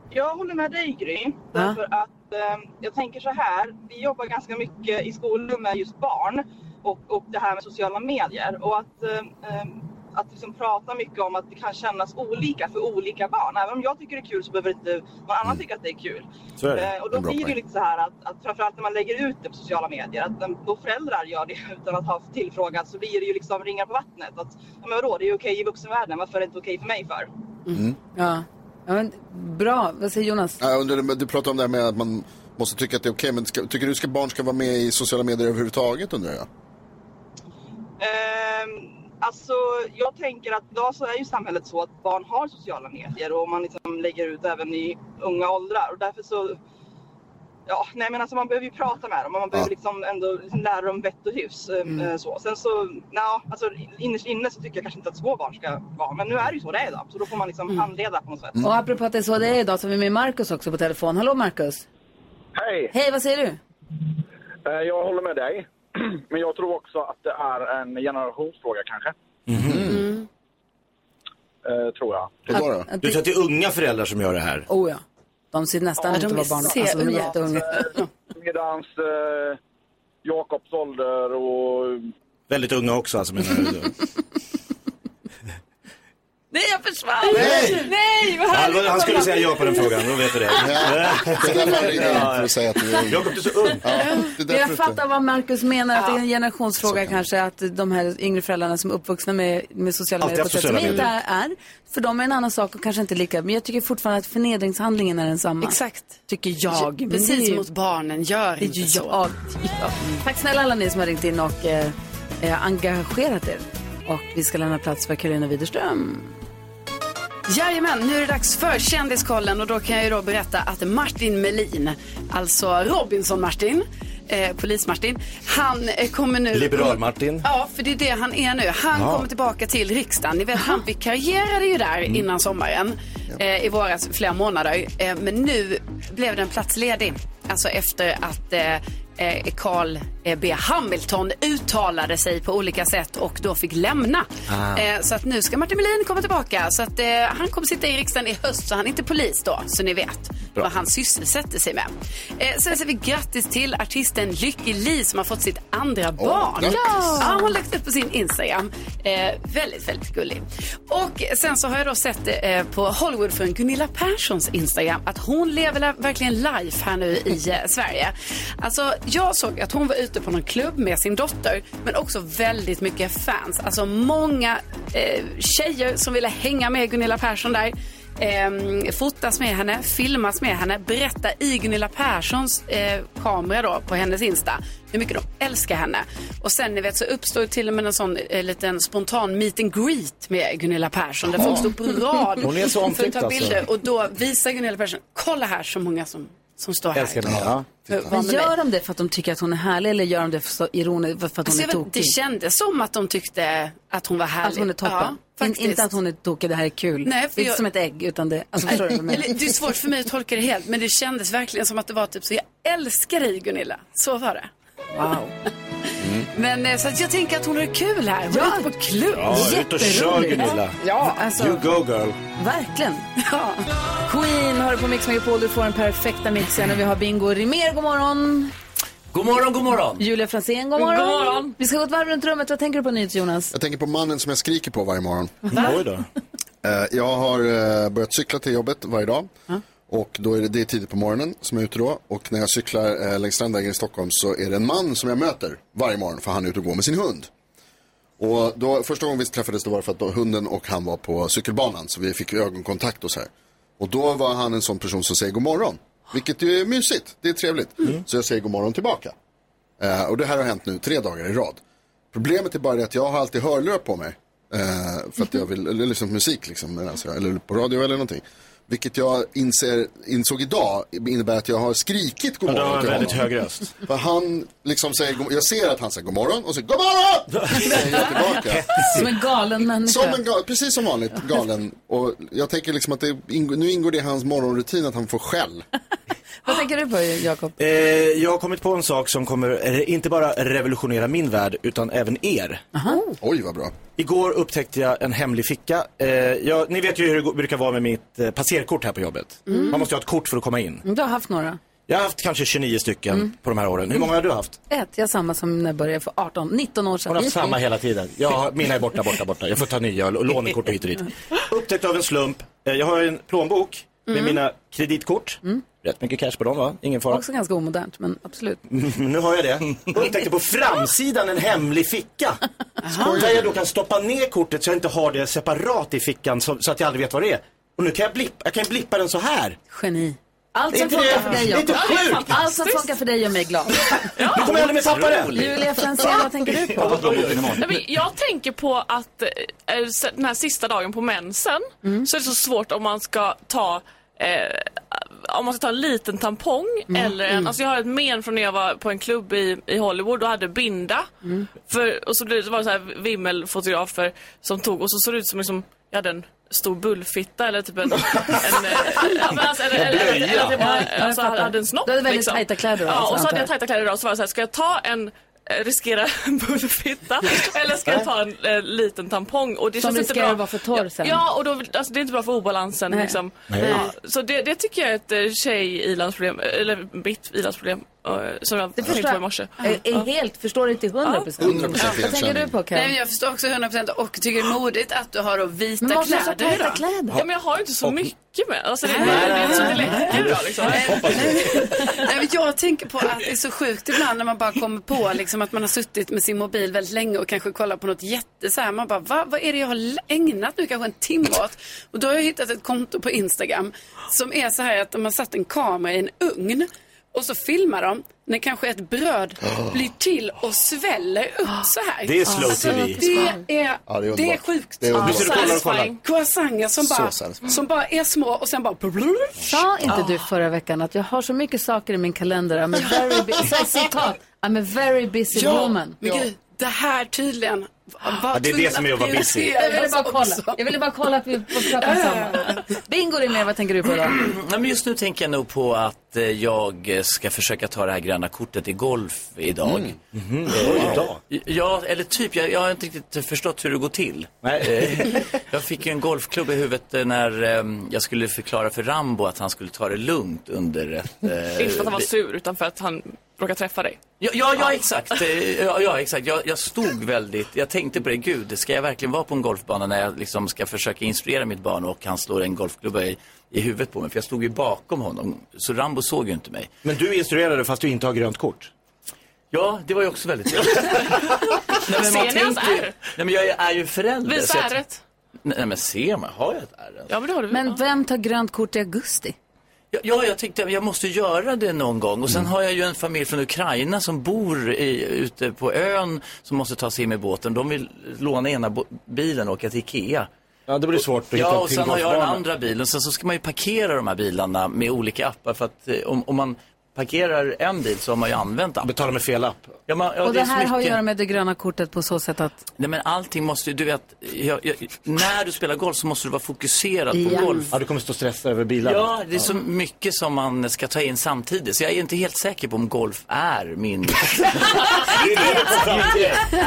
[SPEAKER 12] Jag håller med dig Gry. Därför att eh, jag tänker så här. Vi jobbar ganska mycket i skolor med just barn och, och det här med sociala medier. Och att, eh, eh, att liksom prata mycket om att det kan kännas olika för olika barn. Även om jag tycker det är kul så behöver inte någon annan tycka att det är kul.
[SPEAKER 4] Mm. Så är det.
[SPEAKER 12] Eh, och
[SPEAKER 4] En
[SPEAKER 12] då
[SPEAKER 4] bra
[SPEAKER 12] blir det ju
[SPEAKER 4] poäng.
[SPEAKER 12] lite så här att, att framförallt när man lägger ut det på sociala medier, att eh, då föräldrar gör det utan att ha tillfrågat så blir det ju liksom ringar på vattnet. Att, ja, men vadå, det är ju okej i vuxenvärlden, varför är det inte okej för mig för?
[SPEAKER 3] Mm.
[SPEAKER 2] Ja. ja men, bra, vad säger Jonas?
[SPEAKER 3] Ja, Jag undrar, men du pratade om det här med att man måste tycka att det är okej, men ska, tycker du att barn ska vara med i sociala medier överhuvudtaget undrar jag?
[SPEAKER 12] Ehm, alltså, jag tänker att idag så är ju samhället så att barn har sociala medier och man liksom lägger ut även i unga åldrar och därför så Ja, nej men alltså man behöver ju prata med dem och man behöver liksom ändå liksom lära dem vett och hyfs. ehm,
[SPEAKER 13] Mm.
[SPEAKER 12] eh, Så. Sen så, nja, alltså innerst inne så tycker jag kanske inte att små barn ska vara, men nu är det ju så det är idag. Så då får man liksom handleda på något sätt.
[SPEAKER 4] Mm.
[SPEAKER 2] Och apropå att det är så det är idag så har vi med Markus också på telefon. Hallå Markus!
[SPEAKER 14] Hej!
[SPEAKER 2] Hej, vad säger du?
[SPEAKER 14] Eh, Jag håller med dig. Men jag tror också att det är en generationsfråga kanske.
[SPEAKER 2] Mhm.
[SPEAKER 14] Eh, tror jag.
[SPEAKER 3] Hur då? då?
[SPEAKER 4] Du tror att det är unga föräldrar som gör det här?
[SPEAKER 2] Oh ja. De ser nästan
[SPEAKER 14] Ja,
[SPEAKER 2] ut att
[SPEAKER 14] de
[SPEAKER 2] vara
[SPEAKER 14] är
[SPEAKER 2] barn.
[SPEAKER 14] se-
[SPEAKER 2] Alltså de är jätteunga.
[SPEAKER 14] Medans eh, Jakobs ålder och...
[SPEAKER 4] Väldigt unga också alltså menar du?
[SPEAKER 2] Nej, jag försvann!
[SPEAKER 4] Nej!
[SPEAKER 2] Nej, vad
[SPEAKER 4] Allvar, han skulle säga ja på den frågan, då vet du det.
[SPEAKER 3] Det är därför jag ringer in, för att säga att du är ung.
[SPEAKER 4] Jakob, du är så ung.
[SPEAKER 2] Men jag fattar vad Markus menar, att det är en generationsfråga kanske att de här yngre föräldrarna som är uppvuxna med, med sociala
[SPEAKER 4] Alltid
[SPEAKER 2] medier på ett
[SPEAKER 4] haft
[SPEAKER 2] sätt som
[SPEAKER 4] sociala
[SPEAKER 2] inte
[SPEAKER 4] medier.
[SPEAKER 2] är, för dem är en annan sak och kanske inte lika, men jag tycker fortfarande att förnedringshandlingen är densamma.
[SPEAKER 5] Exakt.
[SPEAKER 2] Tycker jag. Men
[SPEAKER 5] Precis
[SPEAKER 2] det är ju-
[SPEAKER 5] mot barnen, gör
[SPEAKER 2] det är
[SPEAKER 5] inte
[SPEAKER 2] ju
[SPEAKER 5] så.
[SPEAKER 2] jag. Ja. Tack snälla alla ni som har ringt in och eh, eh, engagerat er. Och vi ska lämna plats för Karina Widerström.
[SPEAKER 5] Jajamän, nu är det dags för Kändiskollen och då kan jag ju då berätta att Martin Melin, alltså Robinson-Martin, eh, polis-Martin, han eh, kommer nu...
[SPEAKER 4] Liberal-Martin.
[SPEAKER 5] Ja, för det är det han är nu. Han
[SPEAKER 4] Ja.
[SPEAKER 5] kommer tillbaka till riksdagen. Ni vet, han vikarierade ju där innan sommaren, eh, i våras, flera månader. Eh, men nu blev den plats ledig, alltså efter att eh, eh, Carl eh, B Hamilton uttalade sig på olika sätt och då fick lämna.
[SPEAKER 15] Ah.
[SPEAKER 5] Eh, så att nu ska Martin Melin komma tillbaka. Så att, eh, han kommer sitta i riksdagen i höst, så han är inte polis då, så ni vet
[SPEAKER 15] Bra.
[SPEAKER 5] vad han sysselsätter sig med. Eh, sen säger vi grattis till artisten Lykke Li som har fått sitt andra barn.
[SPEAKER 15] grattis.
[SPEAKER 5] Ja, hon har lagt upp på sin Instagram. Eh, väldigt, väldigt gullig. Och sen så har jag då sett eh, på Hollywoodfrun Gunilla Perssons Instagram att hon lever la- verkligen life här nu i eh, Sverige. Alltså, Jag såg att hon var ute på någon klubb med sin dotter, men också väldigt mycket fans. Alltså många eh, tjejer som ville hänga med Gunilla Persson där. Eh, fotas med henne, filmas med henne, berätta i Gunilla Perssons eh, kamera då på hennes Insta hur mycket de älskar henne. Och sen ni vet så uppstod till och med en sån eh, liten spontan meet and greet med Gunilla Persson där
[SPEAKER 4] Ja.
[SPEAKER 5] folk stod på rad
[SPEAKER 4] Hon är
[SPEAKER 5] för
[SPEAKER 4] så
[SPEAKER 5] att
[SPEAKER 4] omtyckt,
[SPEAKER 5] ta
[SPEAKER 4] alltså.
[SPEAKER 5] bilder. Och då visar Gunilla Persson, kolla här så många som, som står här.
[SPEAKER 4] Älskar den här.
[SPEAKER 5] För- var
[SPEAKER 2] Men
[SPEAKER 5] med mig.
[SPEAKER 2] gör de det för att de tycker att hon är härlig eller gör de det för, så ironi, för att hon
[SPEAKER 5] Alltså,
[SPEAKER 2] är
[SPEAKER 5] jag vet,
[SPEAKER 2] tokig?
[SPEAKER 5] det kändes som att de tyckte att hon var härlig.
[SPEAKER 2] Att hon är toppen.
[SPEAKER 5] Ja,
[SPEAKER 2] In,
[SPEAKER 5] faktiskt.
[SPEAKER 2] inte att hon är tokig, det här är kul.
[SPEAKER 5] Nej, för
[SPEAKER 2] det är
[SPEAKER 5] jag-
[SPEAKER 2] inte som ett ägg, utan det... Alltså, förstår du vad jag menar?
[SPEAKER 5] Eller, det är svårt för mig att tolka det helt, men det kändes verkligen som att det var typ så, jag älskar dig Gunilla. Så var det.
[SPEAKER 2] Wow.
[SPEAKER 5] Men eh, så att jag tänker att hon har kul här. Hon är ute på klubb.
[SPEAKER 4] Ja, ut och kör
[SPEAKER 5] Jätteroligt.
[SPEAKER 4] Gunilla.
[SPEAKER 5] Ja, alltså.
[SPEAKER 4] You go girl.
[SPEAKER 2] Verkligen.
[SPEAKER 1] Queen har du på Mix Megapol. Du får den perfekta mixen och vi har Bingo Rimér. God morgon.
[SPEAKER 13] God morgon, god morgon.
[SPEAKER 1] Julia Franzén, god morgon.
[SPEAKER 2] God morgon.
[SPEAKER 1] Vi ska gå ett varv runt rummet. Vad tänker du på nytt, Jonas?
[SPEAKER 3] Jag tänker på mannen som jag skriker på varje morgon.
[SPEAKER 1] Va? Oj
[SPEAKER 3] då. Jag har eh, börjat cykla till jobbet varje dag. Och då är det, det är tidigt på morgonen som jag är ute då. Och när jag cyklar eh, längs Strandvägen i Stockholm så är det en man som jag möter varje morgon för han är ute och går med sin hund. Och då, första gången vi träffades då var det för att då, hunden och han var på cykelbanan så vi fick ju ögonkontakt och så här. Och då var han en sån person som säger god morgon. Vilket ju är mysigt, det är trevligt.
[SPEAKER 2] Mm.
[SPEAKER 3] Så jag säger god morgon tillbaka. Eh, och det här har hänt nu tre dagar i rad. Problemet är bara det att jag har alltid hörlurar på mig. Eh, för att jag vill, eller lyssna på musik liksom, medan jag- eller på radio eller någonting. Vilket jag inser, insåg idag innebär att jag har skrikit god
[SPEAKER 4] Ja, du
[SPEAKER 3] morgon
[SPEAKER 4] har en
[SPEAKER 3] till
[SPEAKER 4] väldigt
[SPEAKER 3] honom.
[SPEAKER 4] hög röst.
[SPEAKER 3] För han liksom säger, god- jag ser att han säger god morgon och så god morgon! Säger jag tillbaka.
[SPEAKER 2] Som en galen människa.
[SPEAKER 3] Som en gal, precis som vanligt galen. Och jag tänker liksom att det ingår, nu ingår det i hans morgonrutin att han får skäll.
[SPEAKER 2] Vad tänker du på, Jakob?
[SPEAKER 4] Eh, jag har kommit på en sak som kommer eh, inte bara revolutionera min värld utan även er.
[SPEAKER 3] Oh. Oj, vad bra.
[SPEAKER 4] Igår upptäckte jag en hemlig ficka. Eh, jag, ni vet ju hur det går- brukar vara med mitt eh, passerkort här på jobbet.
[SPEAKER 2] Mm.
[SPEAKER 4] Man måste ju ha ett kort för att komma in.
[SPEAKER 2] Du har haft några.
[SPEAKER 4] Jag har haft kanske 29 stycken
[SPEAKER 2] Mm.
[SPEAKER 4] på de här åren. Hur många har du haft?
[SPEAKER 2] Ett, jag har samma som när jag började för 18, 19 år sedan.
[SPEAKER 4] Hon har haft samma hela tiden. Jag, har- mina är borta, borta, borta. Jag får ta nya och lånekort och hit och dit. Upptäckt av en slump. Eh, Jag har en plånbok med
[SPEAKER 2] Mm.
[SPEAKER 4] mina kreditkort. Rätt mycket cash på dem va? Ingen fara.
[SPEAKER 2] Också ganska omodernt, men absolut.
[SPEAKER 4] nu har jag det. Och upptäckte på framsidan en hemlig ficka. Där jag då kan stoppa ner kortet så jag inte har det separat i fickan så, så att jag aldrig vet vad det är. Och nu kan jag blippa, jag kan blippa den så här.
[SPEAKER 2] Geni. Allt
[SPEAKER 4] Det är
[SPEAKER 2] som
[SPEAKER 4] inte
[SPEAKER 2] funkar
[SPEAKER 4] det-
[SPEAKER 2] för dig,
[SPEAKER 4] det är
[SPEAKER 2] Jakob.
[SPEAKER 4] inte sjukt.
[SPEAKER 2] Allt som funkar för dig gör mig glad.
[SPEAKER 4] Nu kommer jag aldrig mer tappa det.
[SPEAKER 2] Julia Franzén, vad tänker du på?
[SPEAKER 15] Nej, men jag tänker på att eh, eh, se- den här sista dagen på mensen
[SPEAKER 2] Mm.
[SPEAKER 15] så är det så svårt om man ska ta eh, om man ska ta en liten tampong
[SPEAKER 16] Mm.
[SPEAKER 15] eller en,
[SPEAKER 16] Mm.
[SPEAKER 15] alltså jag har ett men från när jag var på en klubb i, i Hollywood och hade binda.
[SPEAKER 2] Mm.
[SPEAKER 15] För, och så blev- så var det så här vimmelfotografer som tog och så såg det ut som liksom, jag hade en stor bullfitta eller typ en... en, eh, ja, men alltså, eller, eller, eller, eller att jag
[SPEAKER 2] Ja,
[SPEAKER 15] bara,
[SPEAKER 2] jag
[SPEAKER 15] alltså, hade,
[SPEAKER 2] fattar.
[SPEAKER 15] hade en snopp. liksom.
[SPEAKER 2] Du hade väldigt tajta kläder då,
[SPEAKER 15] Ja,
[SPEAKER 2] alltså,
[SPEAKER 15] och så
[SPEAKER 2] antar
[SPEAKER 15] hade jag
[SPEAKER 2] jag.
[SPEAKER 15] tajta kläder idag och så var det så här, ska jag ta en eh, riskera en bullfitta eller ska jag ta en eh, liten tampong? Och det
[SPEAKER 1] Som
[SPEAKER 15] känns inte
[SPEAKER 1] riskerar
[SPEAKER 15] bra.
[SPEAKER 1] att vara för torr sen.
[SPEAKER 15] Ja, och då, alltså, det är inte bra för obalansen.
[SPEAKER 1] Nej.
[SPEAKER 15] Liksom.
[SPEAKER 1] Nej.
[SPEAKER 15] Ja, så det, det tycker jag är ett eh, tjej-ilandsproblem, eh, eller mitt ilandsproblem eh, som jag tänkte på i morse. Eh,
[SPEAKER 2] Jag är helt, förstår inte till 100 procent. Vad tänker du på,
[SPEAKER 5] Nej, men
[SPEAKER 2] Karin?
[SPEAKER 5] jag förstår också 100% och tycker det är modigt att du har då vita
[SPEAKER 2] Men måste
[SPEAKER 5] kläder.
[SPEAKER 2] jag ha tajta
[SPEAKER 5] då?
[SPEAKER 2] kläder?
[SPEAKER 15] Ja, men jag har ju inte så
[SPEAKER 5] Och-
[SPEAKER 15] mycket med. Alltså, det, det,
[SPEAKER 5] Nej.
[SPEAKER 15] det är inte så det läcker bra liksom.
[SPEAKER 5] Nej, men jag tänker på att det är så sjukt ibland när man bara kommer på liksom, att man har suttit med sin mobil väldigt länge och kanske kollar på något jätte så här, man bara Va, vad är det jag har l- ägnat nu kanske en timme åt? Och då har jag hittat ett konto på Instagram som är så här att de har satt en kamera i en ugn och så filmar de när kanske ett bröd blir till och sväller upp så här. Alltså,
[SPEAKER 4] Det är slow TV.
[SPEAKER 5] det är,
[SPEAKER 4] Ja, det är
[SPEAKER 5] det är
[SPEAKER 4] underbart.
[SPEAKER 5] sjukt. Alltså,
[SPEAKER 4] Det är underbart. Du sitter och kollar och kollar.
[SPEAKER 5] Croissanter som
[SPEAKER 3] Så
[SPEAKER 5] bara,
[SPEAKER 3] satisfying.
[SPEAKER 5] som bara är små och sen bara...
[SPEAKER 2] Sa inte du förra veckan att jag har så mycket saker i min kalender? I'm a very, bu- så här, citat, I'm a very busy woman.
[SPEAKER 5] men gud, det här tydligen var
[SPEAKER 4] Ja, det är det som är att vara busy.
[SPEAKER 2] Jag ville bara kolla. Jag ville bara kolla att vi pratar om samma. Bingo är med, vad tänker du på då?
[SPEAKER 13] Nej, men just nu tänker jag nog på att eh, jag ska försöka ta det här gröna kortet i golf idag.
[SPEAKER 4] Mm. Mhm,
[SPEAKER 13] Eh, Ja, eller typ. Jag, jag har inte riktigt förstått hur det går till. Eh, jag fick ju en golfklubb i huvudet eh, när eh, jag skulle förklara för Rambo att han skulle ta det lugnt under ett... eh,
[SPEAKER 15] Inte för att han var sur utan för att han råkade träffa dig.
[SPEAKER 13] Ja, ja, ja exakt. Eh, Ja, ja, exakt. Jag, jag stod väldigt, jag tänkte på det, gud, ska jag verkligen vara på en golfbana när jag liksom ska försöka instruera mitt barn och han slår en golfklubba i, i huvudet på mig? För jag stod ju bakom honom, så Rambo såg ju inte mig.
[SPEAKER 4] Men du instruerade fast du inte har grönt kort.
[SPEAKER 13] Ja, det var ju också väldigt trevligt. Nej, men man
[SPEAKER 15] Ser ni hans
[SPEAKER 13] tänker ju-
[SPEAKER 15] ärr?
[SPEAKER 13] Nej, men jag är ju förälder.
[SPEAKER 15] Visa
[SPEAKER 13] så jag-
[SPEAKER 15] ärret.
[SPEAKER 13] Nej, men ser man? Har jag ett ärr? ens?
[SPEAKER 15] Ja, men det har du.
[SPEAKER 2] Men vem tar grönt kort i augusti?
[SPEAKER 13] Ja, Ja, jag tänkte jag måste göra det någon gång. Och sen
[SPEAKER 15] Mm.
[SPEAKER 13] har jag ju en familj från Ukraina som bor i, ute på ön som måste ta sig in med båten. De vill låna ena bo- bilen och åka till Ikea.
[SPEAKER 4] Ja, det blir svårt att hitta
[SPEAKER 13] Ja, och sen har jag den
[SPEAKER 4] tillgångsbanan.
[SPEAKER 13] andra bilen. Sen så ska man ju parkera de här bilarna med olika appar för att eh, om, om man parkerar en bil så har man ju använt appen.
[SPEAKER 4] Betala med fel app.
[SPEAKER 13] Ja, man, ja,
[SPEAKER 2] och det,
[SPEAKER 13] är så
[SPEAKER 2] här har att
[SPEAKER 13] mycket.
[SPEAKER 2] göra med det gröna kortet på så sätt att
[SPEAKER 13] Nej men allting måste ju, du vet, jag, jag, när du spelar golf så måste du vara fokuserad på
[SPEAKER 2] Ja.
[SPEAKER 13] golf.
[SPEAKER 4] Ja, du kommer stå stressad över bilarna.
[SPEAKER 13] Ja, det är så mycket som man ska ta in samtidigt. Så jag är inte helt säker på om golf är min...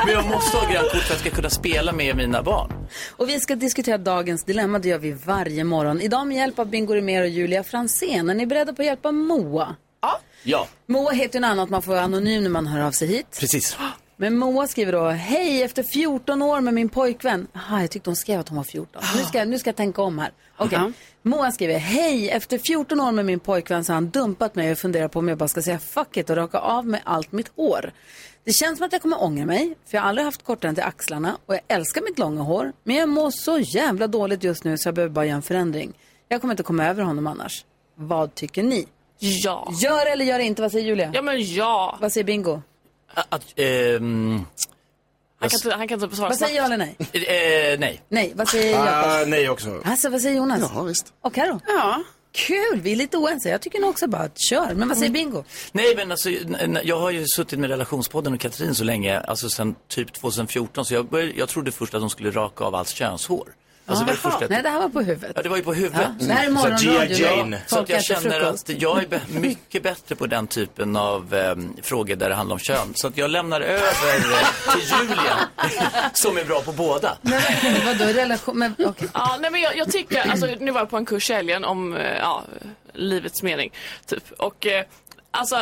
[SPEAKER 13] men jag måste ha grönt kort för att jag ska kunna spela med mina barn.
[SPEAKER 2] Och vi ska diskutera dagens dilemma, det gör vi varje morgon. Idag med hjälp av Bingo Rimér och Julia Fransén. Är ni beredda på att hjälpa Moa?
[SPEAKER 13] Ja.
[SPEAKER 2] Moa heter ju något annat, man får vara anonym när man hör av sig hit.
[SPEAKER 13] Precis.
[SPEAKER 2] Men Moa skriver då, hej efter 14 år med min pojkvän. Aha, jag tyckte hon skrev att hon var 14. Nu ska, nu ska jag tänka om här. Okej. Moa skriver, hej efter 14 år med min pojkvän så har han dumpat mig och funderar på om jag bara ska säga fuck it och raka av mig allt mitt hår. Det känns som att jag kommer ångra mig, för jag har aldrig haft kortare än till axlarna och jag älskar mitt långa hår. Men jag mår så jävla dåligt just nu så jag behöver bara göra en förändring. Jag kommer inte komma över honom annars. Vad tycker ni?
[SPEAKER 15] Ja.
[SPEAKER 2] Gör eller gör inte, vad säger Julia?
[SPEAKER 15] Ja, men ja.
[SPEAKER 2] Vad säger Bingo?
[SPEAKER 13] Att, ehm,
[SPEAKER 15] Han kan inte, han kan inte svara
[SPEAKER 2] Vad säger jag eller nej?
[SPEAKER 13] eh, nej.
[SPEAKER 2] Nej, vad säger Jakob?
[SPEAKER 4] Ah,
[SPEAKER 13] Ah,
[SPEAKER 4] nej också.
[SPEAKER 2] Hasse, vad säger Jonas?
[SPEAKER 13] Ja,
[SPEAKER 3] visst.
[SPEAKER 2] Och Karo?
[SPEAKER 5] Ja.
[SPEAKER 2] Kul, vi är lite oense. Jag tycker nog också bara att kör. Men vad säger
[SPEAKER 15] Mm.
[SPEAKER 2] Bingo?
[SPEAKER 13] Nej, men alltså, n- n- jag har ju suttit med relationspodden och Katrin så länge, alltså sen typ 2014, så jag, började, jag trodde först att de skulle raka av allt könshår. Alltså, det var det första jag
[SPEAKER 2] Nej, det här var på huvudet.
[SPEAKER 13] Ja, det var ju på huvudet.
[SPEAKER 2] Ja, det här är
[SPEAKER 13] Så att-
[SPEAKER 2] morgonradio.
[SPEAKER 13] Ja,
[SPEAKER 2] Jane.
[SPEAKER 13] Så att jag
[SPEAKER 2] Folk äter
[SPEAKER 13] känner att
[SPEAKER 2] frukost.
[SPEAKER 13] jag är be- mycket bättre på den typen av eh, frågor där det handlar om kön. Så att jag lämnar över eh, till Julia, som är bra på båda.
[SPEAKER 2] Vadå, relation? Men, okay.
[SPEAKER 15] Ja, nej, men jag, jag tycker, alltså, nu var jag på en kurs i helgen om eh, ja, livets mening. Typ. Och, eh, alltså,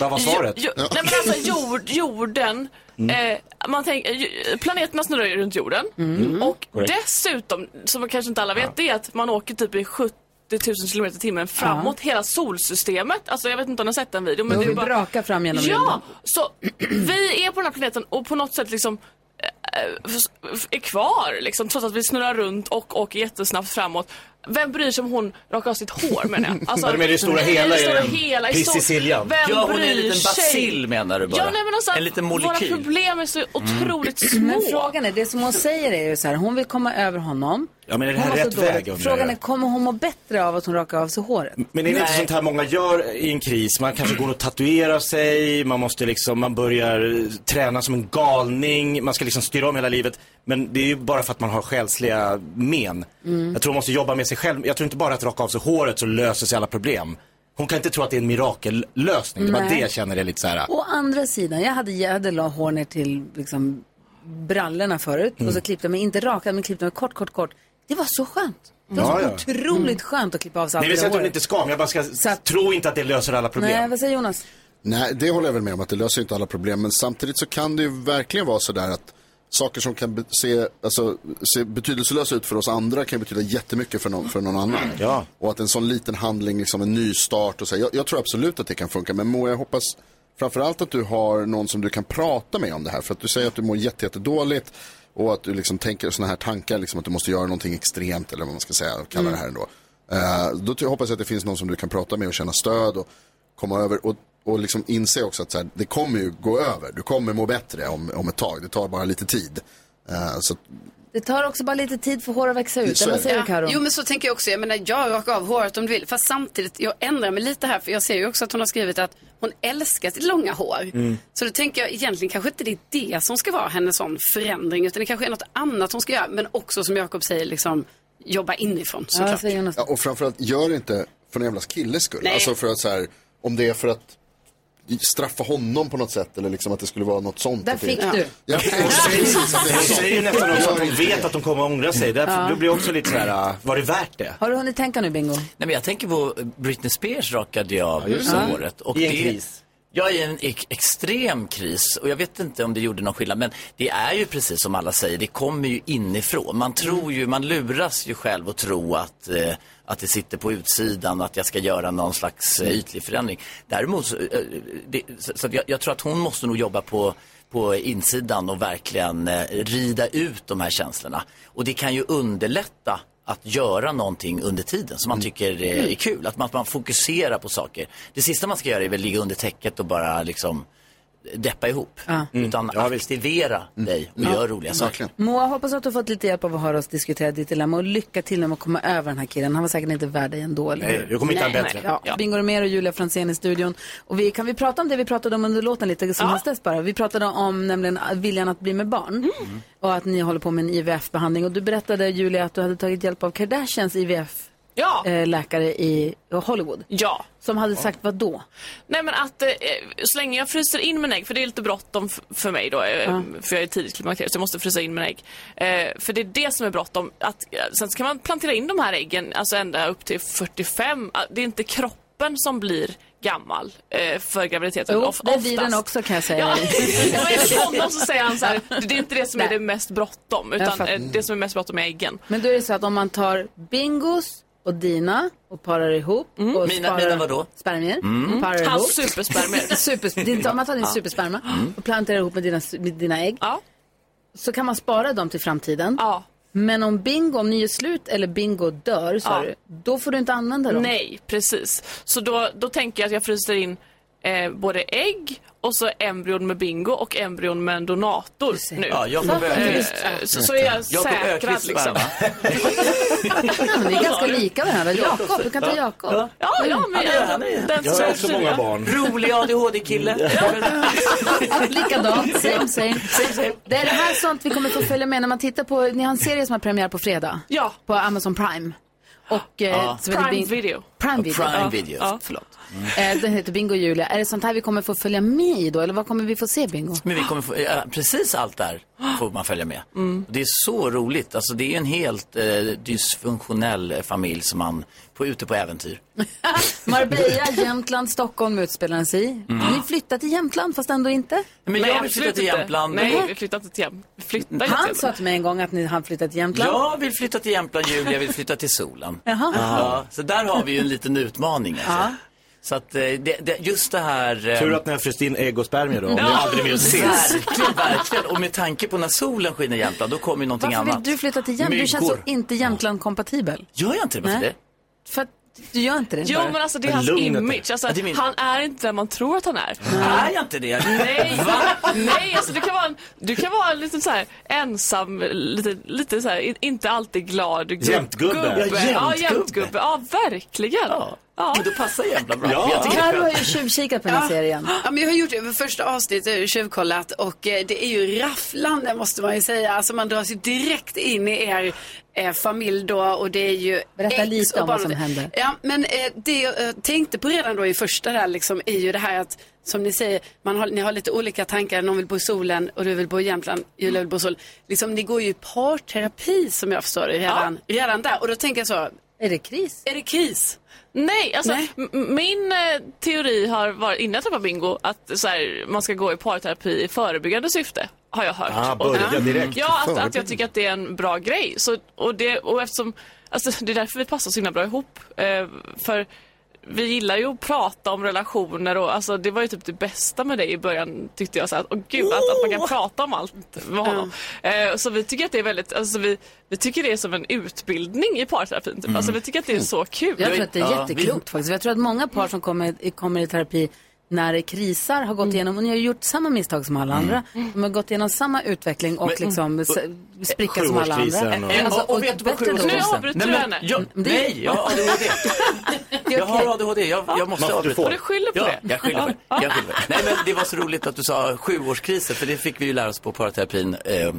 [SPEAKER 4] Vad var svaret?
[SPEAKER 15] Jo, jo, nej, men alltså, jord, jorden, eh, man tänker, ju- planeterna snurrar ju runt jorden.
[SPEAKER 4] Mm.
[SPEAKER 15] Och
[SPEAKER 4] Korrekt.
[SPEAKER 15] dessutom, som kanske inte alla vet, det är att man åker typ i 70 000 km i timmen framåt hela solsystemet. Alltså jag vet inte om ni har sett den videon. Men
[SPEAKER 2] Jo,
[SPEAKER 15] det är
[SPEAKER 2] vi
[SPEAKER 15] bara...
[SPEAKER 2] brakar fram genom
[SPEAKER 15] Ja,
[SPEAKER 2] rymden.
[SPEAKER 15] så vi är på den här planeten och på något sätt liksom eh, f- är kvar liksom, trots att vi snurrar runt och åker jättesnabbt framåt. Vem bryr sig om hon rakar av sitt hår menar jag?
[SPEAKER 4] Ja, men i det stora hela
[SPEAKER 15] i Alltså, det stora
[SPEAKER 4] är det en
[SPEAKER 15] hela, i
[SPEAKER 4] piss i
[SPEAKER 15] stort-
[SPEAKER 4] siljan.
[SPEAKER 15] Vem
[SPEAKER 13] Ja, hon är
[SPEAKER 15] bryr
[SPEAKER 13] en liten
[SPEAKER 15] sig?
[SPEAKER 13] bacill menar du bara.
[SPEAKER 15] Ja, nej, men alltså,
[SPEAKER 13] en liten molekyl.
[SPEAKER 15] Våra problem är så otroligt små.
[SPEAKER 2] Men frågan är, det som hon säger är ju så här, hon vill komma över honom.
[SPEAKER 4] Ja, men är det
[SPEAKER 2] Hon
[SPEAKER 4] här
[SPEAKER 2] mår så
[SPEAKER 4] rätt
[SPEAKER 2] dåligt.
[SPEAKER 4] väg, undrar
[SPEAKER 2] Frågan
[SPEAKER 4] jag?
[SPEAKER 2] är, kommer hon må bättre av att hon rakar av sig håret?
[SPEAKER 4] Men är det inte sånt här många gör i en kris? Man kanske går och tatuerar sig, man måste liksom, man börjar träna som en galning, man ska liksom styra om hela livet. Men det är ju bara för att man har själsliga men.
[SPEAKER 16] Mm.
[SPEAKER 4] Jag tror man måste jobba med sig själv. Jag tror inte bara att raka av sig håret så löser sig alla problem. Hon kan inte tro att det är en mirakellösning. Det var
[SPEAKER 2] Nej.
[SPEAKER 4] det jag känner är lite så här.
[SPEAKER 2] Å andra sidan, jag hade jädel och hår ner till liksom, brallorna förut och så
[SPEAKER 4] Mm.
[SPEAKER 2] klippte jag mig, inte raka men klippte mig kort, kort, kort. Det var så skönt. Det var så
[SPEAKER 4] Ja, ja. Mm.
[SPEAKER 2] otroligt skönt att klippa av sig
[SPEAKER 4] Nej,
[SPEAKER 2] allt
[SPEAKER 4] vi
[SPEAKER 2] det
[SPEAKER 4] säger
[SPEAKER 2] där
[SPEAKER 4] att hon
[SPEAKER 2] håret.
[SPEAKER 4] inte ska, men jag bara ska, tro inte att det löser alla problem.
[SPEAKER 2] Nej, vad säger Jonas?
[SPEAKER 3] Nej, det håller jag väl med om att det löser ju inte alla problem. Men samtidigt så kan det ju verkligen vara sådär att saker som kan be- se, alltså, se betydelselösa ut för oss andra kan betyda jättemycket för någon, för någon annan.
[SPEAKER 4] Mm.
[SPEAKER 3] Ja. Och att en sån liten handling, liksom en ny start och så. här, Jag, jag tror absolut att det kan funka. Men Moa, jag hoppas framförallt att du har någon som du kan prata med om det här. För att du säger att du mår jätte, jättedåligt och att du liksom tänker sådana här tankar, liksom att du måste göra någonting extremt eller vad man ska säga, kalla
[SPEAKER 2] Mm.
[SPEAKER 3] det här ändå. Eh, då ty- hoppas jag att det finns någon som du kan prata med och känna stöd och komma över och, och liksom inse också att så här, det kommer ju gå över. Du kommer må bättre om, om ett tag. Det tar bara lite tid. Eh, så att,
[SPEAKER 2] Det tar också bara lite tid för hår att växa ut.
[SPEAKER 3] Så
[SPEAKER 2] Eller vad
[SPEAKER 3] är
[SPEAKER 2] säger
[SPEAKER 3] det.
[SPEAKER 2] du Karo?
[SPEAKER 5] Jo men så tänker jag också. Jag menar jag rakar av håret om du vill. Fast samtidigt, jag ändrar mig lite här för jag ser ju också att hon har skrivit att hon älskar sitt långa hår.
[SPEAKER 17] Mm.
[SPEAKER 5] Så då tänker jag egentligen kanske inte det är det som ska vara hennes sån förändring utan det kanske är något annat hon ska göra. Men också som Jakob säger liksom jobba inifrån såklart.
[SPEAKER 3] Ja, och framförallt, gör det inte för någon jävla killes skull.
[SPEAKER 5] Nej.
[SPEAKER 3] Alltså för att så här, om det är för att straffa honom på något sätt eller liksom att det skulle vara något sånt.
[SPEAKER 2] Där
[SPEAKER 3] att det-
[SPEAKER 2] fick du.
[SPEAKER 3] Ja,
[SPEAKER 4] Hon säger ju nästan också att hon vet att hon kommer att ångra sig. Därför
[SPEAKER 2] Ja.
[SPEAKER 4] då blir jag också lite så här, äh, var det värt det?
[SPEAKER 2] Har du hunnit tänka nu Bingo?
[SPEAKER 13] Nej, men jag tänker på Britney Spears rakade jag av
[SPEAKER 4] just det.
[SPEAKER 13] ja, håret.
[SPEAKER 4] I en
[SPEAKER 13] det,
[SPEAKER 4] kris.
[SPEAKER 13] Jag är i en ex- extrem kris och jag vet inte om det gjorde någon skillnad. Men det är ju precis som alla säger, det kommer ju inifrån. Man tror ju, man luras ju själv att tro att, eh, att det sitter på utsidan, att jag ska göra någon slags
[SPEAKER 4] Mm.
[SPEAKER 13] eh, ytlig förändring. Däremot, så, eh, det, så, så att jag, jag tror att hon måste nog jobba på på insidan och verkligen eh, rida ut de här känslorna. Och det kan ju underlätta att göra någonting under tiden som man tycker eh, är kul. Att man, att man fokuserar på saker. Det sista man ska göra är väl ligga under täcket och bara liksom deppa ihop. Utan aktivera dig och gör roliga saker.
[SPEAKER 2] Moa, hoppas att du har fått lite hjälp av att höra oss diskutera ditt dilemma och lycka till med att komma över den här killen. Han var säkert inte värd dig ändå. eller hur?
[SPEAKER 4] Nej, jag kommer hitta en
[SPEAKER 2] Nej,
[SPEAKER 4] bättre.
[SPEAKER 2] nej. Ja.
[SPEAKER 4] Ja.
[SPEAKER 2] Bingo Romér och Julia Fransén i studion. Och vi, kan vi prata om det vi pratade om under låten lite som hastigast bara? Vi pratade om nämligen viljan att bli med barn och att ni håller på med en IVF-behandling. Och du berättade Julia att du hade tagit hjälp av Kardashians IVF-läkare eh, i Hollywood.
[SPEAKER 15] Ja.
[SPEAKER 2] Som hade sagt vad då?
[SPEAKER 15] Nej men att eh, så länge jag fryser in mina ägg, för det är lite bråttom f- för mig då, eh,
[SPEAKER 2] Ja.
[SPEAKER 15] för jag är tidigt klimakteriet så jag måste frysa in mina ägg. Eh, för det är det som är bråttom. Att, eh, sen kan man plantera in de här äggen alltså ända upp till 45. Ah, Det är inte kroppen som blir gammal eh, för graviditeten.
[SPEAKER 2] Jo,
[SPEAKER 15] Of-
[SPEAKER 2] det blir den
[SPEAKER 15] oftast.
[SPEAKER 2] också kan jag säga.
[SPEAKER 15] Ja, ja, enligt honom så säger han så här, det är inte det som är det mest bråttom,
[SPEAKER 2] Jag
[SPEAKER 15] utan
[SPEAKER 2] fattar.
[SPEAKER 15] eh, det som är mest bråttom är äggen.
[SPEAKER 2] Men då är det så att om man tar bingos och dina och parar ihop. Och
[SPEAKER 15] Mm. Mina-
[SPEAKER 2] sparar,
[SPEAKER 15] mina vadå?
[SPEAKER 2] Spermier.
[SPEAKER 15] Mm.
[SPEAKER 2] och Parar
[SPEAKER 15] Hans
[SPEAKER 2] ihop.
[SPEAKER 15] superspermier.
[SPEAKER 2] Supersp- din, om man tar din
[SPEAKER 15] Ja.
[SPEAKER 2] supersperma
[SPEAKER 15] Mm.
[SPEAKER 2] och planterar ihop med dina, med dina ägg. Så kan man spara dem till framtiden. Men om bingo, om ni gör slut eller bingo dör, sa
[SPEAKER 15] Ja.
[SPEAKER 2] du, då får du inte använda dem.
[SPEAKER 15] Nej, precis. Så då, då tänker jag att jag fryser in eh, både ägg och så embryon med bingo och embryon med en donator nu.
[SPEAKER 13] Ja, Jakob Öqvist.
[SPEAKER 15] Eh, så, så är jag
[SPEAKER 13] Jakob
[SPEAKER 15] säkrad
[SPEAKER 13] Öqvist
[SPEAKER 15] liksom.
[SPEAKER 13] sperma.
[SPEAKER 2] Men ni är ganska lika varandra.
[SPEAKER 13] Jakob,
[SPEAKER 2] Jakob, du kan ta
[SPEAKER 13] ja.
[SPEAKER 2] Jakob.
[SPEAKER 13] Ja.
[SPEAKER 15] Ja, ja, men jag, den
[SPEAKER 13] Jag har
[SPEAKER 15] som
[SPEAKER 13] också
[SPEAKER 15] är-
[SPEAKER 13] många barn. Mm. Rolig ADHD-kille.
[SPEAKER 2] Likadant, same same. Det är det här sånt vi kommer få följa med när man tittar på, ni har en serie som har premiär på fredag.
[SPEAKER 15] Ja.
[SPEAKER 2] På Amazon Prime. Och, eh,
[SPEAKER 15] Ja.
[SPEAKER 2] som heter
[SPEAKER 15] Prime
[SPEAKER 2] Bing-
[SPEAKER 15] Video.
[SPEAKER 2] Prime Video.
[SPEAKER 13] Prime Video.
[SPEAKER 15] Förlåt.
[SPEAKER 2] Eh, den heter Bingo och Julia. Är det sånt här vi kommer få följa med i då? Eller vad kommer vi få se Bingo?
[SPEAKER 13] Men vi kommer få, ja, precis allt där får man följa med. Det är så roligt. Alltså, det är en helt eh, dysfunktionell eh, familj som man får ute på äventyr.
[SPEAKER 2] Marbella, Jämtland, Stockholm utspelar den sig i.
[SPEAKER 13] Mm.
[SPEAKER 2] Ni flyttar till Jämtland fast ändå inte.
[SPEAKER 13] Men jag vill flytta till Jämtland.
[SPEAKER 15] Nej, vi flyttar inte till Jämtland. Vi flyttar inte till
[SPEAKER 2] Han
[SPEAKER 15] Jämtland.
[SPEAKER 2] sa till mig en gång att ni, han flyttat till Jämtland.
[SPEAKER 13] Jag vill flytta till Jämtland, Julia vill flytta till solen.
[SPEAKER 2] Jaha.
[SPEAKER 13] Ja, så där har vi ju en liten utmaning. Alltså. Så att eh, det, det, just det här... eh,
[SPEAKER 4] Tur att ni har fryst in ägg och spermier då, om ni
[SPEAKER 13] Ja,
[SPEAKER 4] aldrig mer ses.
[SPEAKER 13] Verkligen, verkligen. Och med tanke på när solen skiner i Jämtland, då kommer ju någonting
[SPEAKER 2] Varför
[SPEAKER 13] annat.
[SPEAKER 2] vill du flytta till Jämtland? Du känns så
[SPEAKER 13] Myggor.
[SPEAKER 2] inte Jämtland-kompatibel.
[SPEAKER 13] Gör jag inte det? Varför
[SPEAKER 2] Nej.
[SPEAKER 13] det?
[SPEAKER 2] För att du gör inte det?
[SPEAKER 15] Jo
[SPEAKER 2] bara.
[SPEAKER 15] men alltså det är hans image. Alltså,
[SPEAKER 13] Ja, det är min-
[SPEAKER 15] Han är inte den man tror att han är.
[SPEAKER 13] Är jag inte det?
[SPEAKER 15] Nej, nej alltså, du kan vara, en, du kan vara en liten så här ensam, lite, lite så här, in- inte alltid glad gubb-
[SPEAKER 13] Jämtgubbe.
[SPEAKER 15] gubbe.
[SPEAKER 13] Ja,
[SPEAKER 15] Ja,
[SPEAKER 13] jämtgubbe.
[SPEAKER 15] jämtgubbe. Ja, verkligen. Ja.
[SPEAKER 13] Men då passar Jämtland bra.
[SPEAKER 15] Ja.
[SPEAKER 13] Jag tycker-
[SPEAKER 2] Carro har ju tjuvkikat på den här serien.
[SPEAKER 5] Ja, men jag har gjort det. För första avsnittet har jag tjuvkollat och eh, det är ju rafflande måste man ju säga. Alltså man dras ju direkt in i er eh, familj då och det är ju
[SPEAKER 2] Berätta
[SPEAKER 5] ex
[SPEAKER 2] lite
[SPEAKER 5] och
[SPEAKER 2] om vad
[SPEAKER 5] barn-
[SPEAKER 2] som hände.
[SPEAKER 5] Ja, men eh, det jag eh, tänkte på redan då i första där liksom är ju det här att som ni säger, man har, ni har lite olika tankar. Någon vill bo i solen och du vill bo i Jämtland, Julia vill bo i solen. Liksom, ni går ju i parterapi som jag förstår det redan, redan där. Och då tänker jag så.
[SPEAKER 2] Är det kris?
[SPEAKER 5] Är det kris?
[SPEAKER 15] Nej, alltså m- min eh, teori har varit innan jag träffade Bingo att så här, man ska gå i parterapi i förebyggande syfte. Har jag hört.
[SPEAKER 4] Ah, börja
[SPEAKER 15] Och-
[SPEAKER 4] direkt.
[SPEAKER 15] Ja, att, att jag
[SPEAKER 4] Förebyggande.
[SPEAKER 15] tycker att det är en bra grej. Så, och, det, och eftersom, alltså, det är därför vi passar så himla bra ihop. Eh, för vi gillar ju att prata om relationer och alltså, det var ju typ det bästa med dig i början tyckte jag. Så här, att, åh gud, att, att man kan prata om allt med honom. Eh, så vi tycker att det är väldigt, alltså, vi, vi tycker det är som en utbildning i parterapin. Typ. Alltså, vi tycker att det är så kul.
[SPEAKER 2] Jag tror att det är jätteklokt faktiskt. Jag tror att många par som kommer, kommer i terapi när det krisar har gått igenom, och ni har gjort samma misstag som alla andra. De har gått igenom samma utveckling och
[SPEAKER 13] Men-
[SPEAKER 2] liksom s-
[SPEAKER 13] och-
[SPEAKER 2] spricka som alla andra.
[SPEAKER 13] Sjuårskrisen och-
[SPEAKER 2] Alltså,
[SPEAKER 13] Och- och vet du vad
[SPEAKER 2] bättre då.
[SPEAKER 13] sjuårskrisen- Nej, men jag-
[SPEAKER 2] Det är-
[SPEAKER 13] Nej, jag har ADHD. Jag har ADHD, jag, jag måste
[SPEAKER 4] Måste du
[SPEAKER 13] avbryta.
[SPEAKER 4] få. Du skyller på
[SPEAKER 13] ja,
[SPEAKER 4] det.
[SPEAKER 13] Jag skyller på det. Jag skyller på det. Nej, men det var så roligt att du sa sjuårskrisen, för det fick vi ju lära oss på paraterapin. Eh,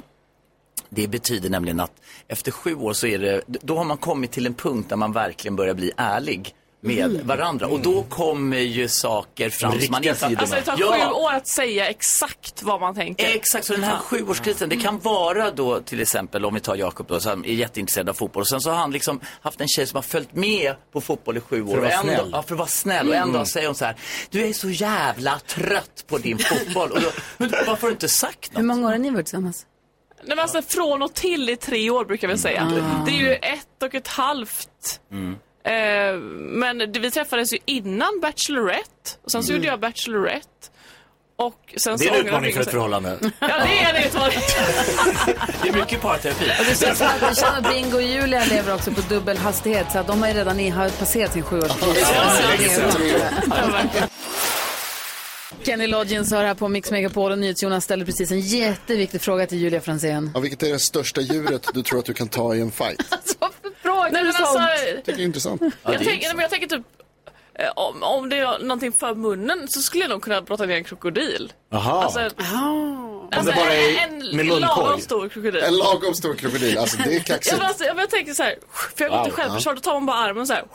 [SPEAKER 13] Det betyder nämligen att efter sju år så är det, då har man kommit till en punkt där man verkligen börjar bli ärlig med
[SPEAKER 2] Mm.
[SPEAKER 13] varandra. Och då kommer ju saker fram som man
[SPEAKER 15] Riktiga
[SPEAKER 13] inte...
[SPEAKER 15] Alltså det tar
[SPEAKER 13] Ja.
[SPEAKER 15] sju år att säga exakt vad man tänker.
[SPEAKER 13] Exakt, så den här sjuårskrisen,
[SPEAKER 15] Mm.
[SPEAKER 13] det kan vara då till exempel om vi tar Jakob då, som är jätteintresserad av fotboll och sen så har han liksom haft en tjej som har följt med på fotboll i sju år.
[SPEAKER 4] att vara
[SPEAKER 13] och en
[SPEAKER 4] snäll.
[SPEAKER 13] Dag, ja, för att vara snäll. Och en
[SPEAKER 4] Mm.
[SPEAKER 13] dag säger hon så här, du är så jävla trött på din fotboll. Och då, men du, varför har du inte sagt
[SPEAKER 2] Hur många år har ni varit tillsammans?
[SPEAKER 15] Nej, men alltså, från och till i tre år brukar vi säga.
[SPEAKER 2] Mm.
[SPEAKER 15] Det är ju ett och ett halvt.
[SPEAKER 7] Mm.
[SPEAKER 15] Eh, men det, vi träffades ju innan Bachelorette. Och sen så
[SPEAKER 4] Mm.
[SPEAKER 15] gjorde jag Bachelorette. Och sen
[SPEAKER 4] Det
[SPEAKER 15] så
[SPEAKER 4] är en
[SPEAKER 15] ångrade
[SPEAKER 4] utmaning
[SPEAKER 15] jag
[SPEAKER 4] för ett
[SPEAKER 15] mig.
[SPEAKER 4] förhållande.
[SPEAKER 15] Ja, det är det. Tor.
[SPEAKER 13] Det är mycket parterapi.
[SPEAKER 2] Det känns som att Luciano Bingo och Julia lever också på dubbel hastighet så att de har ju redan i, har passerat sin sjuårskris. Kenny Loggins har här på Mix Megapol och NyhetsJonas ställer precis en jätteviktig fråga till Julia Franzén.
[SPEAKER 3] Ja, vilket är det största djuret du tror att du kan ta i en fight?
[SPEAKER 15] Nej, men alltså,
[SPEAKER 3] Jag tycker det är intressant.
[SPEAKER 15] jag, tänker, nej, men jag tänker typ, eh, om, om det är någonting för munnen så skulle jag nog kunna brotta ner en krokodil.
[SPEAKER 3] Jaha.
[SPEAKER 15] Alltså,
[SPEAKER 3] Om det
[SPEAKER 15] alltså,
[SPEAKER 3] bara är
[SPEAKER 15] en,
[SPEAKER 3] med
[SPEAKER 15] en
[SPEAKER 3] munkorg.
[SPEAKER 15] lagom stor krokodil.
[SPEAKER 3] En lagom stor krokodil, alltså det är
[SPEAKER 15] Ja,
[SPEAKER 3] kaxigt.
[SPEAKER 15] men alltså, ja, men jag tänker så här, för jag har
[SPEAKER 3] Wow.
[SPEAKER 15] inte självförsvar, då tar man bara armen så här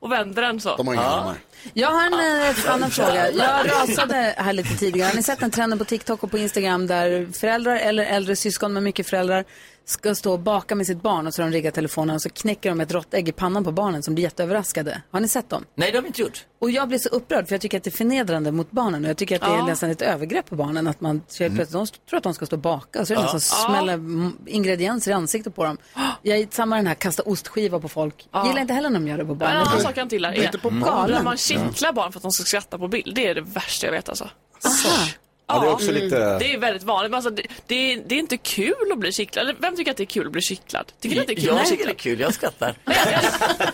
[SPEAKER 15] och vänder den så.
[SPEAKER 3] De har inga armar.
[SPEAKER 2] Jag har en eh, annan fråga.
[SPEAKER 15] jävlar.
[SPEAKER 2] Jag rasade här lite tidigare. Har ni sett den trenden på TikTok och på Instagram där föräldrar eller äldre syskon med mycket föräldrar ska stå och baka med sitt barn och så har de riggat telefonen och så knäcker de ett rått ägg i pannan på barnen som blir jätteöverraskade. Har ni sett dem?
[SPEAKER 13] Nej, det har vi inte gjort.
[SPEAKER 2] Och jag blir så upprörd för jag tycker att det är förnedrande mot barnen och jag tycker att det är
[SPEAKER 13] Ja.
[SPEAKER 2] nästan ett övergrepp på barnen att man så
[SPEAKER 13] Mm.
[SPEAKER 2] helt plötsligt, de st- tror att de ska stå och baka och så är det
[SPEAKER 13] Ja.
[SPEAKER 2] nästan smäller m- ingredienser i ansiktet på dem. Jag är samma den här kasta ostskiva på folk.
[SPEAKER 15] Ja.
[SPEAKER 2] Gillar inte heller när de gör det på
[SPEAKER 15] Men
[SPEAKER 2] barnen.
[SPEAKER 15] en annan sak jag inte gillar
[SPEAKER 2] Det är inte på
[SPEAKER 15] är
[SPEAKER 2] barnen.
[SPEAKER 15] när man kittlar barn för att de ska skratta på bild. Det är det värsta jag vet alltså. Mm.
[SPEAKER 4] Ja, det är också lite...
[SPEAKER 15] Det är väldigt vanligt. Men alltså, det, det, är, det är inte kul att bli kittlad. Eller, Vem tycker att det är kul att bli kittlad? Tycker du att det är kul
[SPEAKER 13] Jag
[SPEAKER 15] att bli
[SPEAKER 13] tycker det
[SPEAKER 15] kittlad?
[SPEAKER 13] är kul, jag skrattar.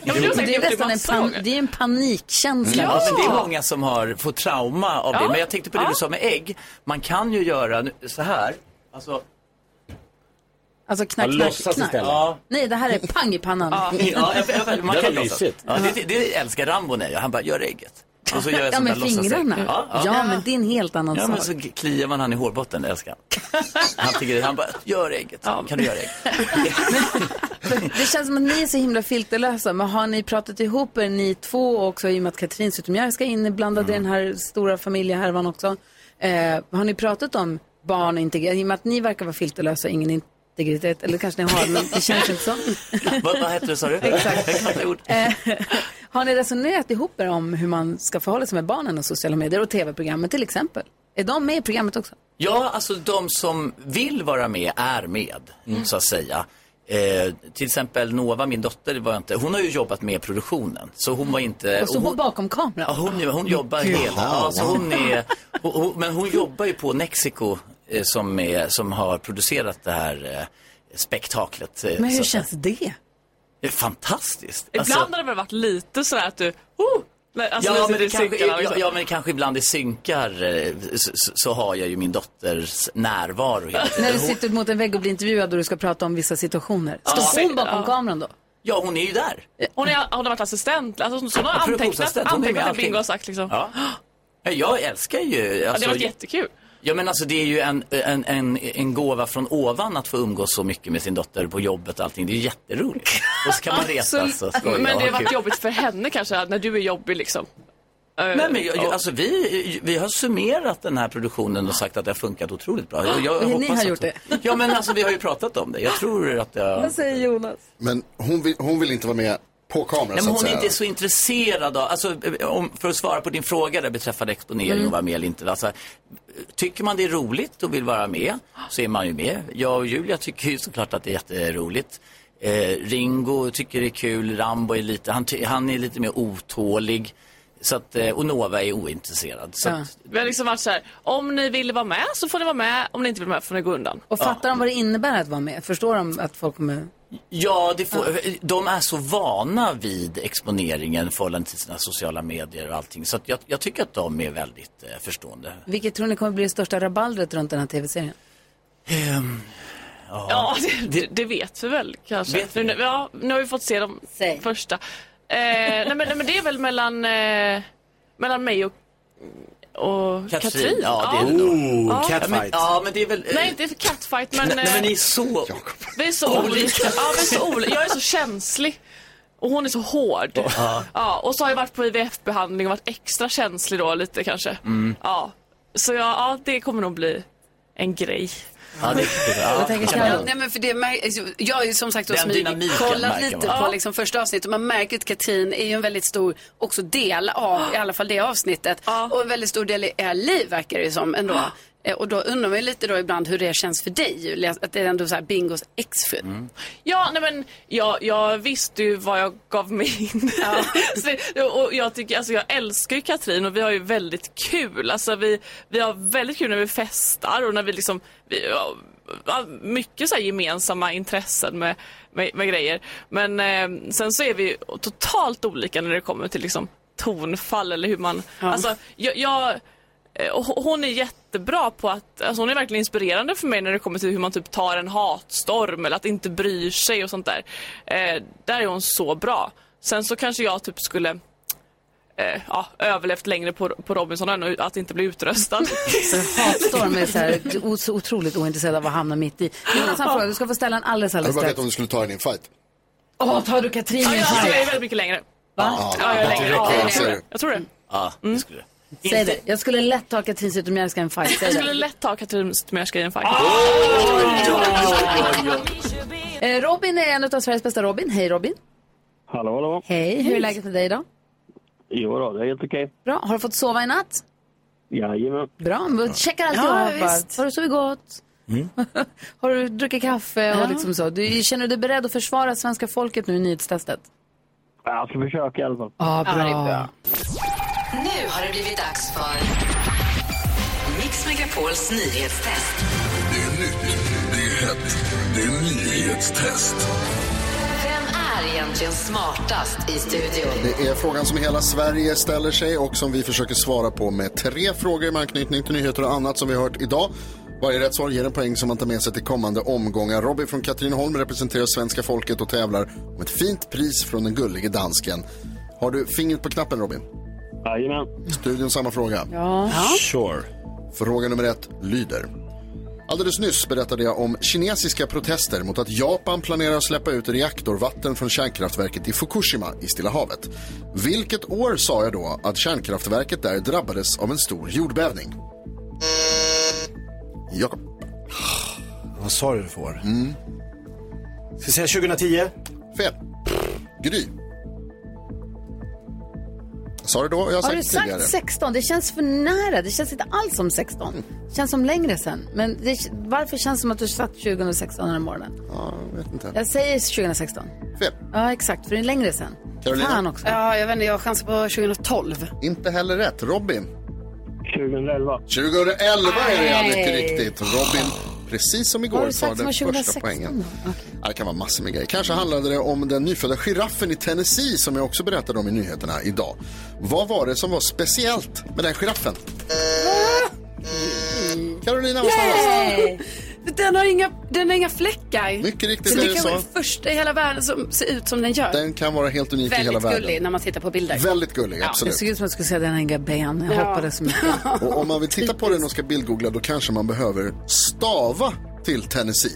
[SPEAKER 15] Jo, men du har säkert
[SPEAKER 2] Det är
[SPEAKER 15] gjort det
[SPEAKER 2] nästan en,
[SPEAKER 15] massa
[SPEAKER 2] pan-
[SPEAKER 15] gånger.
[SPEAKER 2] det är en panikkänsla.
[SPEAKER 13] Ja, men det är många som har, får trauma av
[SPEAKER 2] Mm. Ja.
[SPEAKER 13] det. Men jag tänkte på det
[SPEAKER 2] Ja.
[SPEAKER 13] du sa med ägg. Man kan ju göra nu- så här. Alltså,
[SPEAKER 2] Alltså knack,
[SPEAKER 13] Ja,
[SPEAKER 2] knack,
[SPEAKER 13] låtsas
[SPEAKER 2] knack.
[SPEAKER 13] istället. Ja.
[SPEAKER 2] Nej, det här är pang i pannan.
[SPEAKER 13] ja, jag, jag, man
[SPEAKER 2] Det
[SPEAKER 13] kan
[SPEAKER 2] var
[SPEAKER 13] låtsas.
[SPEAKER 2] mysigt.
[SPEAKER 13] Ja, det, det, det älskar Rambo när jag- Han bara, gör ägget. Och så gör jag
[SPEAKER 2] ja,
[SPEAKER 13] sånt
[SPEAKER 2] med
[SPEAKER 13] där låtsasägg.
[SPEAKER 2] fingrarna.
[SPEAKER 13] Ja,
[SPEAKER 2] Ja, men det är en helt annan
[SPEAKER 13] Ja, men
[SPEAKER 2] sak.
[SPEAKER 13] så kliar man han i hårbotten, det älskar han. Han tycker, han bara, gör ägget. Kan du göra ägget?
[SPEAKER 2] Det känns som att ni är så himla filterlösa, men har ni pratat ihop er ni två också i och med att Katrin Zytomierska ska inblandad i den här stora familjehärvan också. Eh, har ni pratat om barn och integritet? I och med att ni verkar vara filterlösa, ingen integritet, eller kanske ni har, men det känns inte så.
[SPEAKER 13] vad, vad hette det, sa du?
[SPEAKER 2] Exakt.
[SPEAKER 13] Jag kan inte ord.
[SPEAKER 2] Har ni resonerat ihop er om hur man ska förhålla sig med barnen och sociala medier och tv-programmet till exempel? Är de med i programmet också?
[SPEAKER 13] Ja, alltså de som vill vara med är med,
[SPEAKER 2] Mm.
[SPEAKER 13] så att säga. Eh, till exempel Nova, min dotter, det var inte, hon har ju jobbat med produktionen. Så Eh, hon var inte...
[SPEAKER 2] Och så
[SPEAKER 13] och
[SPEAKER 2] hon bakom kameran?
[SPEAKER 13] Ja, hon, ju- hon jobbar
[SPEAKER 2] Gud.
[SPEAKER 13] hela. Ja, så hon är, hon, hon, men hon jobbar ju på Nexiko eh, som, är, som har producerat det här eh, spektaklet. eh,
[SPEAKER 2] Men
[SPEAKER 13] så
[SPEAKER 2] hur
[SPEAKER 13] att-
[SPEAKER 2] känns det?
[SPEAKER 13] Det är fantastiskt. Alltså,
[SPEAKER 15] Ibland har det väl varit lite sådär att du, oh! Nej, Alltså,
[SPEAKER 13] ja,
[SPEAKER 15] nu
[SPEAKER 13] men
[SPEAKER 15] sitter
[SPEAKER 13] det
[SPEAKER 15] i
[SPEAKER 13] kanske,
[SPEAKER 15] cirklarna,
[SPEAKER 13] ja,
[SPEAKER 15] liksom.
[SPEAKER 13] ja, men kanske ibland i synkar eh, så, så- så har jag ju min dotters närvaro hela tiden.
[SPEAKER 2] När du
[SPEAKER 13] Hon-
[SPEAKER 2] sitter mot en vägg och blir intervjuad och du ska prata om vissa situationer.
[SPEAKER 13] Ja.
[SPEAKER 2] Står hon bakom
[SPEAKER 13] Ja.
[SPEAKER 2] kameran då?
[SPEAKER 13] Ja, hon är ju där.
[SPEAKER 15] Hon, är, hon har varit assistent. Alltså, så hon har
[SPEAKER 13] Ja,
[SPEAKER 15] antecknat,
[SPEAKER 13] produktionsassistent. Hon är med i
[SPEAKER 15] antecknat det
[SPEAKER 13] allting.
[SPEAKER 15] Bingo har sagt liksom.
[SPEAKER 13] Ja. Ja, Jag älskar ju... alltså,
[SPEAKER 15] ja, det har varit jättekul.
[SPEAKER 13] Ja men alltså det är ju en, en, en, en gåva från ovan att få umgås så mycket med sin dotter på jobbet och allting. Det är ju jätteroligt. Och så kan man alltså, resa så skoja och
[SPEAKER 15] Alltså, Men det har
[SPEAKER 13] ha
[SPEAKER 15] varit
[SPEAKER 13] kul.
[SPEAKER 15] jobbigt för henne kanske, att när du är jobbig liksom.
[SPEAKER 13] Nej men jag,
[SPEAKER 15] Ja.
[SPEAKER 13] alltså vi, vi har summerat den här produktionen och sagt att det har funkat otroligt bra. Jag, jag
[SPEAKER 2] Ni
[SPEAKER 13] hoppas
[SPEAKER 2] har
[SPEAKER 13] att-
[SPEAKER 2] gjort det.
[SPEAKER 13] Ja men alltså vi har ju pratat om det. Jag tror att jag...
[SPEAKER 2] säger Jonas?
[SPEAKER 3] Men hon vill, hon vill inte vara med på kamera
[SPEAKER 13] Nej,
[SPEAKER 3] så
[SPEAKER 13] men
[SPEAKER 3] att
[SPEAKER 13] hon är
[SPEAKER 3] säga.
[SPEAKER 13] inte så intresserad av, alltså, eh, om, för att svara på din fråga där beträffande exponering
[SPEAKER 3] Mm.
[SPEAKER 13] och vara med eller inte. Alltså, tycker man det är roligt och vill vara med så är man ju med. Jag och Julia tycker ju såklart att det är jätteroligt. Eh, Ringo tycker det är kul, Rambo är lite, han, ty- han är lite mer otålig. Så att, eh, och Nova är ointresserad. Så att,
[SPEAKER 15] Vi har liksom varit så här, om ni vill vara med så får ni vara med, om ni inte vill vara med får ni gå undan.
[SPEAKER 2] Och fattar de vad det innebär att vara med? Förstår de att folk kommer...
[SPEAKER 13] Ja, det får, de är så vana vid exponeringen i förhållande till sina sociala medier och allting. Så att jag, jag tycker att de är väldigt eh, förstående.
[SPEAKER 2] Vilket tror ni kommer bli det största rabaldret runt den här tv-serien?
[SPEAKER 13] Ehm,
[SPEAKER 15] Ja, det, det, vet vi väl kanske.
[SPEAKER 13] Vet
[SPEAKER 15] nu, nu- ja, nu har vi fått se de första. Eh, nej, men, nej men det är väl mellan, eh, mellan mig och, och Katrin.
[SPEAKER 13] Ja, det är det nog.
[SPEAKER 15] Ja.
[SPEAKER 13] Ja, men, ja, men det är väl... eh,
[SPEAKER 15] Nej, inte för catfight men,
[SPEAKER 13] nej,
[SPEAKER 15] eh,
[SPEAKER 13] men ni är så...
[SPEAKER 15] vi är så
[SPEAKER 13] Olika.
[SPEAKER 15] olika. Ja, vi är så olika. Jag är så känslig. Och hon är så hård.
[SPEAKER 13] Ja.
[SPEAKER 15] Ja, och så har jag varit på IVF-behandling och varit extra känslig då lite kanske.
[SPEAKER 13] Mm.
[SPEAKER 15] Ja, så ja, ja, det kommer nog bli en grej.
[SPEAKER 13] Ja, det, ja.
[SPEAKER 5] Jag tänker, ja, nej, men för det, mär- alltså, jag har ju som sagt då
[SPEAKER 13] Den
[SPEAKER 5] smyg,
[SPEAKER 13] dynamiken
[SPEAKER 5] kollat
[SPEAKER 13] märker
[SPEAKER 5] lite
[SPEAKER 13] man.
[SPEAKER 5] på
[SPEAKER 13] Ja.
[SPEAKER 5] liksom första avsnittet och man märker att Katrin är ju en väldigt stor också del av i alla fall det avsnittet. Och en väldigt stor del i er liv verkar det ju som ändå. Eh, Och då undrar man ju lite då ibland hur det känns för dig Julia, att det är ändå så här Bingos exfru.
[SPEAKER 13] Mm.
[SPEAKER 15] Ja, nej men jag, jag visste ju vad jag gav mig in så, och jag, tycker, alltså, jag älskar ju Katrin och vi har ju väldigt kul. Alltså, vi, vi har väldigt kul när vi festar och när vi liksom... Vi, ja, har mycket så här gemensamma intressen med, med, med grejer. Men eh, sen så är vi ju totalt olika när det kommer till liksom, tonfall eller hur man... Alltså, jag, jag, Eh, och ho- Hon är jättebra på att, alltså hon är verkligen inspirerande för mig när det kommer till hur man typ tar en hatstorm eller att inte bry sig och sånt där. Eh, där är hon så bra. Sen så kanske jag typ skulle eh, ja, överlevt längre på, på Robinson och att inte bli utröstad.
[SPEAKER 2] Hatstorm är så, här, o- så otroligt ointresserad av att hamna mitt i. Jonas, han frågar, du ska få ställa en alldeles,
[SPEAKER 3] Jag vill
[SPEAKER 2] alldeles
[SPEAKER 3] bara
[SPEAKER 2] strax.
[SPEAKER 3] veta om du skulle ta dig din fight.
[SPEAKER 2] Åh, tar du Katrin?
[SPEAKER 15] ja, jag, jag är
[SPEAKER 2] Säg
[SPEAKER 15] väldigt mycket längre.
[SPEAKER 2] Va?
[SPEAKER 15] Ja, jag, är längre. Ja, jag,
[SPEAKER 3] Ser
[SPEAKER 15] tror det.
[SPEAKER 3] du?
[SPEAKER 15] jag tror det.
[SPEAKER 13] Ja, det skulle
[SPEAKER 2] det. Jag skulle lätt ta Katrin Zytomierska i en fight.
[SPEAKER 15] Jag
[SPEAKER 2] Säg
[SPEAKER 15] skulle
[SPEAKER 2] det.
[SPEAKER 15] lätt ta Katrin Zytomierska i en fight.
[SPEAKER 2] Eh, Robin är en av Sveriges bästa Robin. Hej Robin.
[SPEAKER 16] Hallå, hallå.
[SPEAKER 2] Hej, hur är läget med dig idag?
[SPEAKER 16] Jo då, det är helt okej.
[SPEAKER 2] Bra, har du fått sova i natt?
[SPEAKER 16] Jajamän.
[SPEAKER 2] Bra, men checkar alltid
[SPEAKER 16] Ja,
[SPEAKER 2] av. bara.
[SPEAKER 16] visst.
[SPEAKER 2] Har du sovit gott?
[SPEAKER 16] Mm.
[SPEAKER 2] Har du druckit kaffe och liksom så? Du, känner du dig beredd att försvara svenska folket nu i nyhetstestet?
[SPEAKER 16] Jag ska försöka i alla fall.
[SPEAKER 2] Ja, bra.
[SPEAKER 9] Nu har det blivit dags för Mix Megapols nyhetstest.
[SPEAKER 8] Det är nytt, det är hett, det är nyhetstest.
[SPEAKER 9] Vem är egentligen smartast i studion?
[SPEAKER 3] Det är frågan som hela Sverige ställer sig och som vi försöker svara på med tre frågor med anknytning till nyheter och annat som vi har hört idag. Varje rätt svar ger en poäng som man tar med sig till kommande omgångar. Robin från Katrineholm representerar svenska folket och tävlar om ett fint pris från den gullige dansken. Har du fingret på knappen, Robin?
[SPEAKER 16] Jajamän.
[SPEAKER 3] Studion samma fråga.
[SPEAKER 2] Ja.
[SPEAKER 3] Sure. Fråga nummer ett lyder. Alldeles nyss berättade jag om kinesiska protester mot att Japan planerar att släppa ut reaktorvatten från kärnkraftverket i Fukushima i Stilla havet. Vilket år sa jag då att kärnkraftverket där drabbades av en stor jordbävning? Jakob.
[SPEAKER 4] Vad sa du för år? Mm. Ska jag säga 2010?
[SPEAKER 3] Fel. Gry. Jag sa det då och jag har
[SPEAKER 2] Har
[SPEAKER 3] sagt
[SPEAKER 2] du
[SPEAKER 3] det
[SPEAKER 2] sagt
[SPEAKER 3] tidigare.
[SPEAKER 2] 16? Det känns för nära. Det känns inte alls som 16. Det känns som längre sen. Men det, varför känns det som att du satt 2016 den här morgonen?
[SPEAKER 3] Ja, jag vet inte.
[SPEAKER 2] Jag säger 2016.
[SPEAKER 3] Fel.
[SPEAKER 2] Ja, exakt. För det är längre sen.
[SPEAKER 3] Carolina?
[SPEAKER 2] Fan också.
[SPEAKER 5] Ja, jag vet inte, jag chansar på 2012.
[SPEAKER 3] Inte heller rätt. Robin?
[SPEAKER 16] 2011.
[SPEAKER 3] 2011 är det ja,
[SPEAKER 5] Nej.
[SPEAKER 3] mycket riktigt. Robin, precis som
[SPEAKER 2] Vad har
[SPEAKER 3] igår, tar
[SPEAKER 2] du sagt som
[SPEAKER 3] den
[SPEAKER 2] var
[SPEAKER 3] första
[SPEAKER 2] 2016
[SPEAKER 3] poängen. Ja, Det kan vara massor med grejer. Kanske handlade det om den nyfödda giraffen i Tennessee som jag också berättade om i nyheterna idag. Vad var det som var speciellt med den giraffen? Carolina var snabbast.
[SPEAKER 5] Mm. Den har inga, den har inga fläckar.
[SPEAKER 3] Mycket riktigt
[SPEAKER 5] så
[SPEAKER 3] är
[SPEAKER 5] det
[SPEAKER 3] det
[SPEAKER 5] kan vara
[SPEAKER 3] så.
[SPEAKER 5] den första i hela världen som ser ut som den gör.
[SPEAKER 3] Den kan vara helt unik i hela
[SPEAKER 5] Väldigt
[SPEAKER 3] världen.
[SPEAKER 5] gullig när man tittar på bilder.
[SPEAKER 3] Väldigt gullig, absolut.
[SPEAKER 2] Det såg ut som att jag skulle säga den har inga ben. Jag
[SPEAKER 5] Ja.
[SPEAKER 2] hoppades så mycket.
[SPEAKER 3] Och om man vill titta på den och ska bildgoogla då kanske man behöver stava till Tennessee.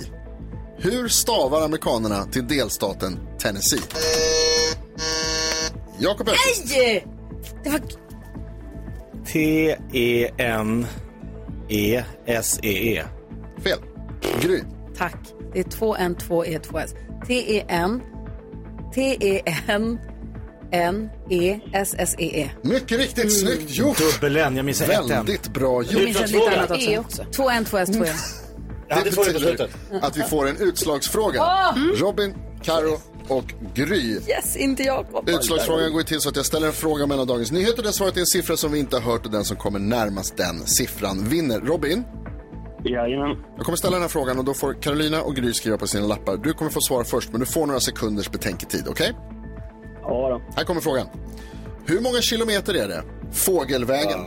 [SPEAKER 3] Hur stavar amerikanerna till delstaten Tennessee? Jakob Öqvist.
[SPEAKER 2] Nej! Det var...
[SPEAKER 4] T-E-N-E-S-E-E.
[SPEAKER 3] Fel. Gry.
[SPEAKER 2] Tack. Det är 2N,
[SPEAKER 5] e,
[SPEAKER 2] 2E, 2S. T-E-N, T-E-N, N-E-S-S-E-E.
[SPEAKER 3] Mycket riktigt, snyggt gjort.
[SPEAKER 4] Dubbel-N, jag missade ett Mm. N.
[SPEAKER 3] Väldigt bra
[SPEAKER 4] Det
[SPEAKER 3] gjort.
[SPEAKER 4] är utslagsfråga.
[SPEAKER 2] E också. Mm. 2N, 2S,
[SPEAKER 5] e.
[SPEAKER 2] 2E.
[SPEAKER 4] Ja, det får vi på
[SPEAKER 3] betyder
[SPEAKER 4] slutet.
[SPEAKER 3] att vi får en utslagsfråga.
[SPEAKER 2] Ah! Mm.
[SPEAKER 3] Robin, Karo och Gry.
[SPEAKER 2] Yes, inte Jakob.
[SPEAKER 3] Utslagsfrågan går ju till så att jag ställer en fråga mellan dagens nyheter där svaret är en siffra som vi inte har hört och den som kommer närmast den siffran vinner. Robin?
[SPEAKER 16] Jajamän.
[SPEAKER 3] Jag kommer ställa den här frågan och då får Carolina och Gry skriva på sina lappar. Du kommer få svara först men du får några sekunders betänketid, okej?
[SPEAKER 16] Ja
[SPEAKER 3] Här kommer frågan. Hur många kilometer är det fågelvägen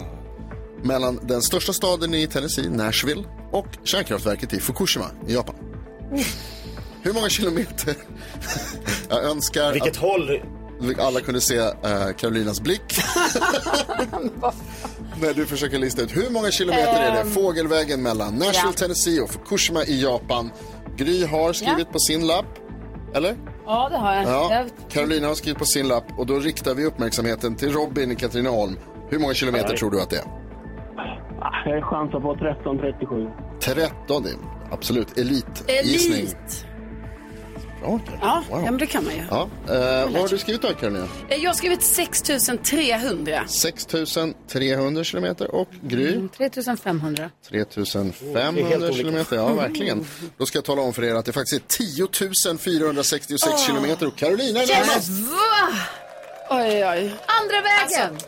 [SPEAKER 3] mellan den största staden i Tennessee, Nashville, och kärnkraftverket i Fukushima i Japan? Hur många kilometer? jag önskar
[SPEAKER 4] Vilket
[SPEAKER 3] att
[SPEAKER 4] håll?
[SPEAKER 3] alla kunde se eh, Carolinas blick när du försöker lista ut hur många kilometer är det
[SPEAKER 2] Ehm.
[SPEAKER 3] fågelvägen mellan Nashville,
[SPEAKER 2] Ja.
[SPEAKER 3] Tennessee och Fukushima i Japan. Gry har skrivit på sin lapp, eller?
[SPEAKER 2] Ja, det har jag.
[SPEAKER 3] Ja,
[SPEAKER 2] jag
[SPEAKER 3] Carolina har skrivit på sin lapp och då riktar vi uppmärksamheten till Robin i Katrineholm. Hur många kilometer
[SPEAKER 18] Nej.
[SPEAKER 3] tror du att det är?
[SPEAKER 18] Jag chansar på 13.37.
[SPEAKER 3] 13, det är absolut elitgissning.
[SPEAKER 5] Elit.
[SPEAKER 3] Bra, Carolina.
[SPEAKER 5] Ja,
[SPEAKER 3] Wow.
[SPEAKER 5] ja, men det kan man ju.
[SPEAKER 3] Ja, eh, vad har du skrivit då, Carolina?
[SPEAKER 5] Eh, Jag har skrivit 6300.
[SPEAKER 3] 6300 kilometer och Gry?
[SPEAKER 5] Mm.
[SPEAKER 2] 3500.
[SPEAKER 3] 3500
[SPEAKER 2] helt olika.
[SPEAKER 3] kilometer, ja verkligen. Då ska jag tala om för er att det faktiskt är 10 466 kilometer och Carolina är närmast.
[SPEAKER 5] Va? Oj, oj. Andra vägen. Alltså,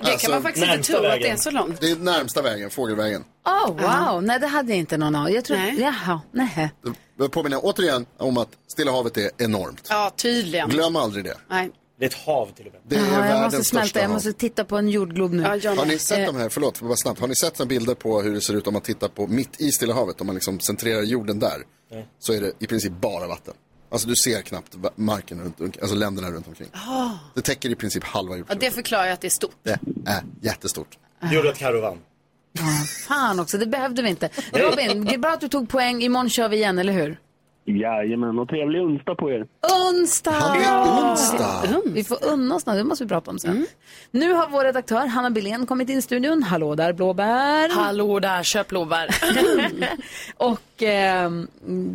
[SPEAKER 5] det kan
[SPEAKER 4] Alltså,
[SPEAKER 5] man faktiskt inte tro att det är så långt.
[SPEAKER 3] Det är Alltså, närmsta vägen, fågelvägen.
[SPEAKER 2] Oh, wow. Nej, det hade jag inte någon aning Jag tror...
[SPEAKER 5] Nej.
[SPEAKER 2] Jaha, nej.
[SPEAKER 3] Det påminner återigen om att Stilla havet är enormt.
[SPEAKER 5] Ja, tydligen.
[SPEAKER 3] Glöm aldrig det.
[SPEAKER 5] Nej.
[SPEAKER 4] Det är ett hav till och med.
[SPEAKER 3] Det är
[SPEAKER 2] Ja, jag
[SPEAKER 3] världens
[SPEAKER 2] måste smälta.
[SPEAKER 3] största
[SPEAKER 2] Jag
[SPEAKER 3] hav.
[SPEAKER 2] måste titta på en jordglob nu. Eh,
[SPEAKER 3] Har ni sett de här, förlåt, för bara snabbt. Har ni sett några bilder på hur det ser ut om man tittar på mitt i Stilla havet, om man liksom centrerar jorden där,
[SPEAKER 4] Nej.
[SPEAKER 3] så är det i princip bara vatten. Alltså du ser knappt va- marken runt omkring, alltså länderna runt omkring.
[SPEAKER 5] Ah.
[SPEAKER 3] Det täcker i princip halva
[SPEAKER 5] Ja,
[SPEAKER 3] jorden.
[SPEAKER 5] det förklarar ju att det är stort.
[SPEAKER 3] Det är jättestort.
[SPEAKER 4] Det gjorde att Carro vann.
[SPEAKER 2] Fan också, det behövde vi inte. Robin, det är bra att du tog poäng. Imorgon kör vi igen, eller hur?
[SPEAKER 18] Jajamän, och trevlig onsdag på er.
[SPEAKER 2] Onsdag!
[SPEAKER 18] Ja, onsdag.
[SPEAKER 2] Vi får unna oss något, det måste vi prata om sen.
[SPEAKER 19] Mm.
[SPEAKER 2] Nu har vår redaktör Hanna Billén kommit in i studion. Hallå där blåbär!
[SPEAKER 19] Hallå där, köp blåbär.
[SPEAKER 2] och ehm,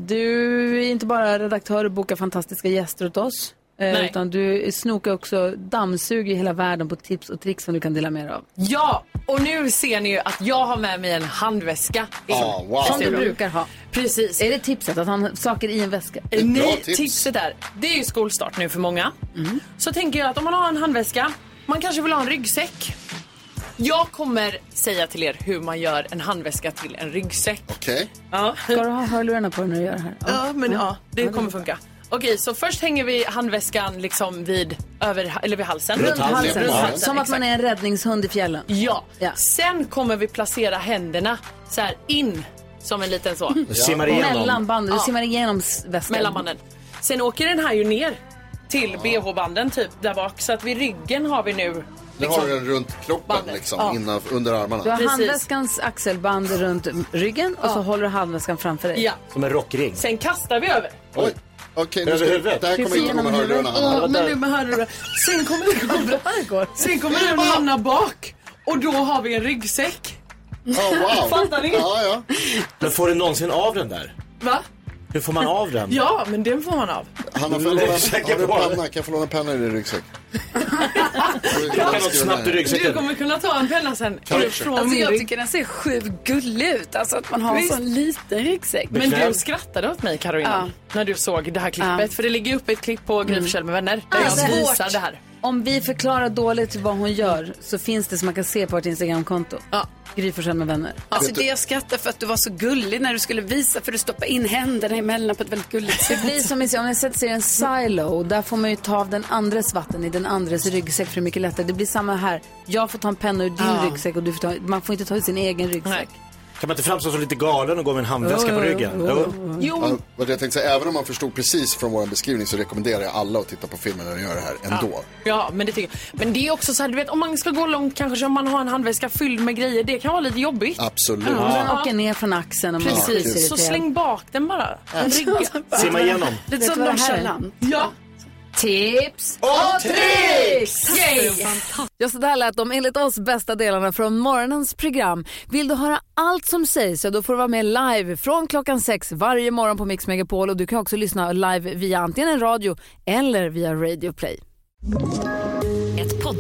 [SPEAKER 2] du är inte bara redaktör och bokar fantastiska gäster åt oss. eh,
[SPEAKER 19] Nej.
[SPEAKER 2] Utan du snokar också, dammsuger hela världen på tips och tricks som du kan dela med dig av.
[SPEAKER 7] Ja, och nu ser ni ju att jag har med mig en handväska. in.
[SPEAKER 2] Ah, wow. Som du brukar ha.
[SPEAKER 7] Precis.
[SPEAKER 2] Är det tipset att han har saker i en väska?
[SPEAKER 7] Nej,
[SPEAKER 2] tips.
[SPEAKER 7] tipset är, det är ju skolstart nu för många.
[SPEAKER 2] Mm.
[SPEAKER 7] Så tänker jag att om man har en handväska, man kanske vill ha en ryggsäck. Jag kommer säga till er hur man gör en handväska till en ryggsäck.
[SPEAKER 3] Okej.
[SPEAKER 7] Ja.
[SPEAKER 2] Ska du ha hörlurarna på dig när du gör det här?
[SPEAKER 7] Ja, men ja, det kommer funka. Okej, så först hänger vi handväskan liksom vid, över, eller vid halsen.
[SPEAKER 2] Runt halsen.
[SPEAKER 7] Runt halsen,
[SPEAKER 2] Som att man är en räddningshund i fjällen.
[SPEAKER 7] Ja. Sen kommer vi placera händerna så här in som en liten så.
[SPEAKER 2] Du simmar igenom. Mellan banden, du simmar igenom s- väskan.
[SPEAKER 7] Mellan banden. Sen åker den här ju ner till bh-banden typ där bak så att vid ryggen har vi nu liksom-
[SPEAKER 3] Nu
[SPEAKER 5] Liksom.
[SPEAKER 3] har du den runt kroppen liksom,
[SPEAKER 7] Ja.
[SPEAKER 3] innan, under armarna.
[SPEAKER 2] Du har handväskans axelband runt ryggen och så håller du handväskan framför dig.
[SPEAKER 7] Ja.
[SPEAKER 4] Som en rockring.
[SPEAKER 7] Sen kastar vi över.
[SPEAKER 3] Oj. Okej, nu
[SPEAKER 4] Över
[SPEAKER 3] ska,
[SPEAKER 4] huvudet.
[SPEAKER 3] det här kommer inte gå med hörlurarna.
[SPEAKER 7] Ja,
[SPEAKER 3] Hanna.
[SPEAKER 7] men nu med hörlurarna. Sen kommer den, sen kommer den hamna bak och då har vi en ryggsäck.
[SPEAKER 3] wow.
[SPEAKER 7] Fattar ni?
[SPEAKER 3] Ja, ja.
[SPEAKER 4] Men får du någonsin av den där?
[SPEAKER 7] Va?
[SPEAKER 4] Hur får man av den?
[SPEAKER 7] Ja, men den får man av.
[SPEAKER 3] Hanna, får jag låna- har du en penna? Kan jag få låna en penna i din ryggsäck?
[SPEAKER 4] Jag kan något snabbt i
[SPEAKER 7] Du
[SPEAKER 4] ryggsäcken.
[SPEAKER 7] kommer kunna ta en penna sen
[SPEAKER 4] Kanske.
[SPEAKER 7] från
[SPEAKER 5] Alltså
[SPEAKER 7] min
[SPEAKER 5] jag
[SPEAKER 7] rygg.
[SPEAKER 5] tycker den ser sjukt gullig ut. Alltså att man har en
[SPEAKER 7] Visst.
[SPEAKER 5] sån liten ryggsäck.
[SPEAKER 7] Men du skrattade åt mig Carolina när du såg det här klippet. För det ligger uppe ett klipp på Gry Forssell med vänner där jag
[SPEAKER 2] det är
[SPEAKER 7] visar
[SPEAKER 2] svårt.
[SPEAKER 7] det här.
[SPEAKER 2] Om vi förklarar dåligt vad hon gör så finns det som man kan se på vårt Instagramkonto. Ja. Gry Forssell med vänner.
[SPEAKER 5] Alltså det jag skrattar för att du var så gullig när du skulle visa för du stoppade in händerna emellan på ett väldigt gulligt
[SPEAKER 2] Det
[SPEAKER 5] sätt.
[SPEAKER 2] blir som i, om ni har sett serien Silo, där får man ju ta av den andres vatten i den andres ryggsäck för det är mycket lättare. Det blir samma här. Jag får ta en penna ur din
[SPEAKER 4] Ja.
[SPEAKER 2] ryggsäck och du får ta, man får inte ta ur sin egen ryggsäck.
[SPEAKER 4] Kan man inte framstå som lite galen och gå med en handväska på
[SPEAKER 2] Jo, jo,
[SPEAKER 4] ryggen?
[SPEAKER 2] jo, jo.
[SPEAKER 3] Ja, vad jag tänkte säga, även om man förstod precis från vår beskrivning så rekommenderar jag alla att titta på filmen när de gör det här ändå.
[SPEAKER 7] Ja, men det tycker jag. Men det är också så här, du vet om man ska gå långt kanske så om man har en handväska fylld med grejer. Det kan vara lite jobbigt.
[SPEAKER 3] Absolut.
[SPEAKER 2] Och den åker ner från axeln. Och man skiter i
[SPEAKER 7] Precis, så
[SPEAKER 2] det.
[SPEAKER 7] släng bak den bara. En rygga.
[SPEAKER 2] Simma igenom. Vet
[SPEAKER 7] Lite
[SPEAKER 2] du
[SPEAKER 7] som
[SPEAKER 2] vad det här är?
[SPEAKER 7] nonchalant. Ja.
[SPEAKER 2] Tips
[SPEAKER 20] och
[SPEAKER 2] tricks!
[SPEAKER 20] Yay! Ja, så där lät de enligt oss bästa delarna från morgonens program. Vill du höra allt som sägs så då får du vara med live från klockan sex varje morgon på Mix Megapol och du kan också lyssna live via antingen en radio eller via Radio Play.
[SPEAKER 9] Ett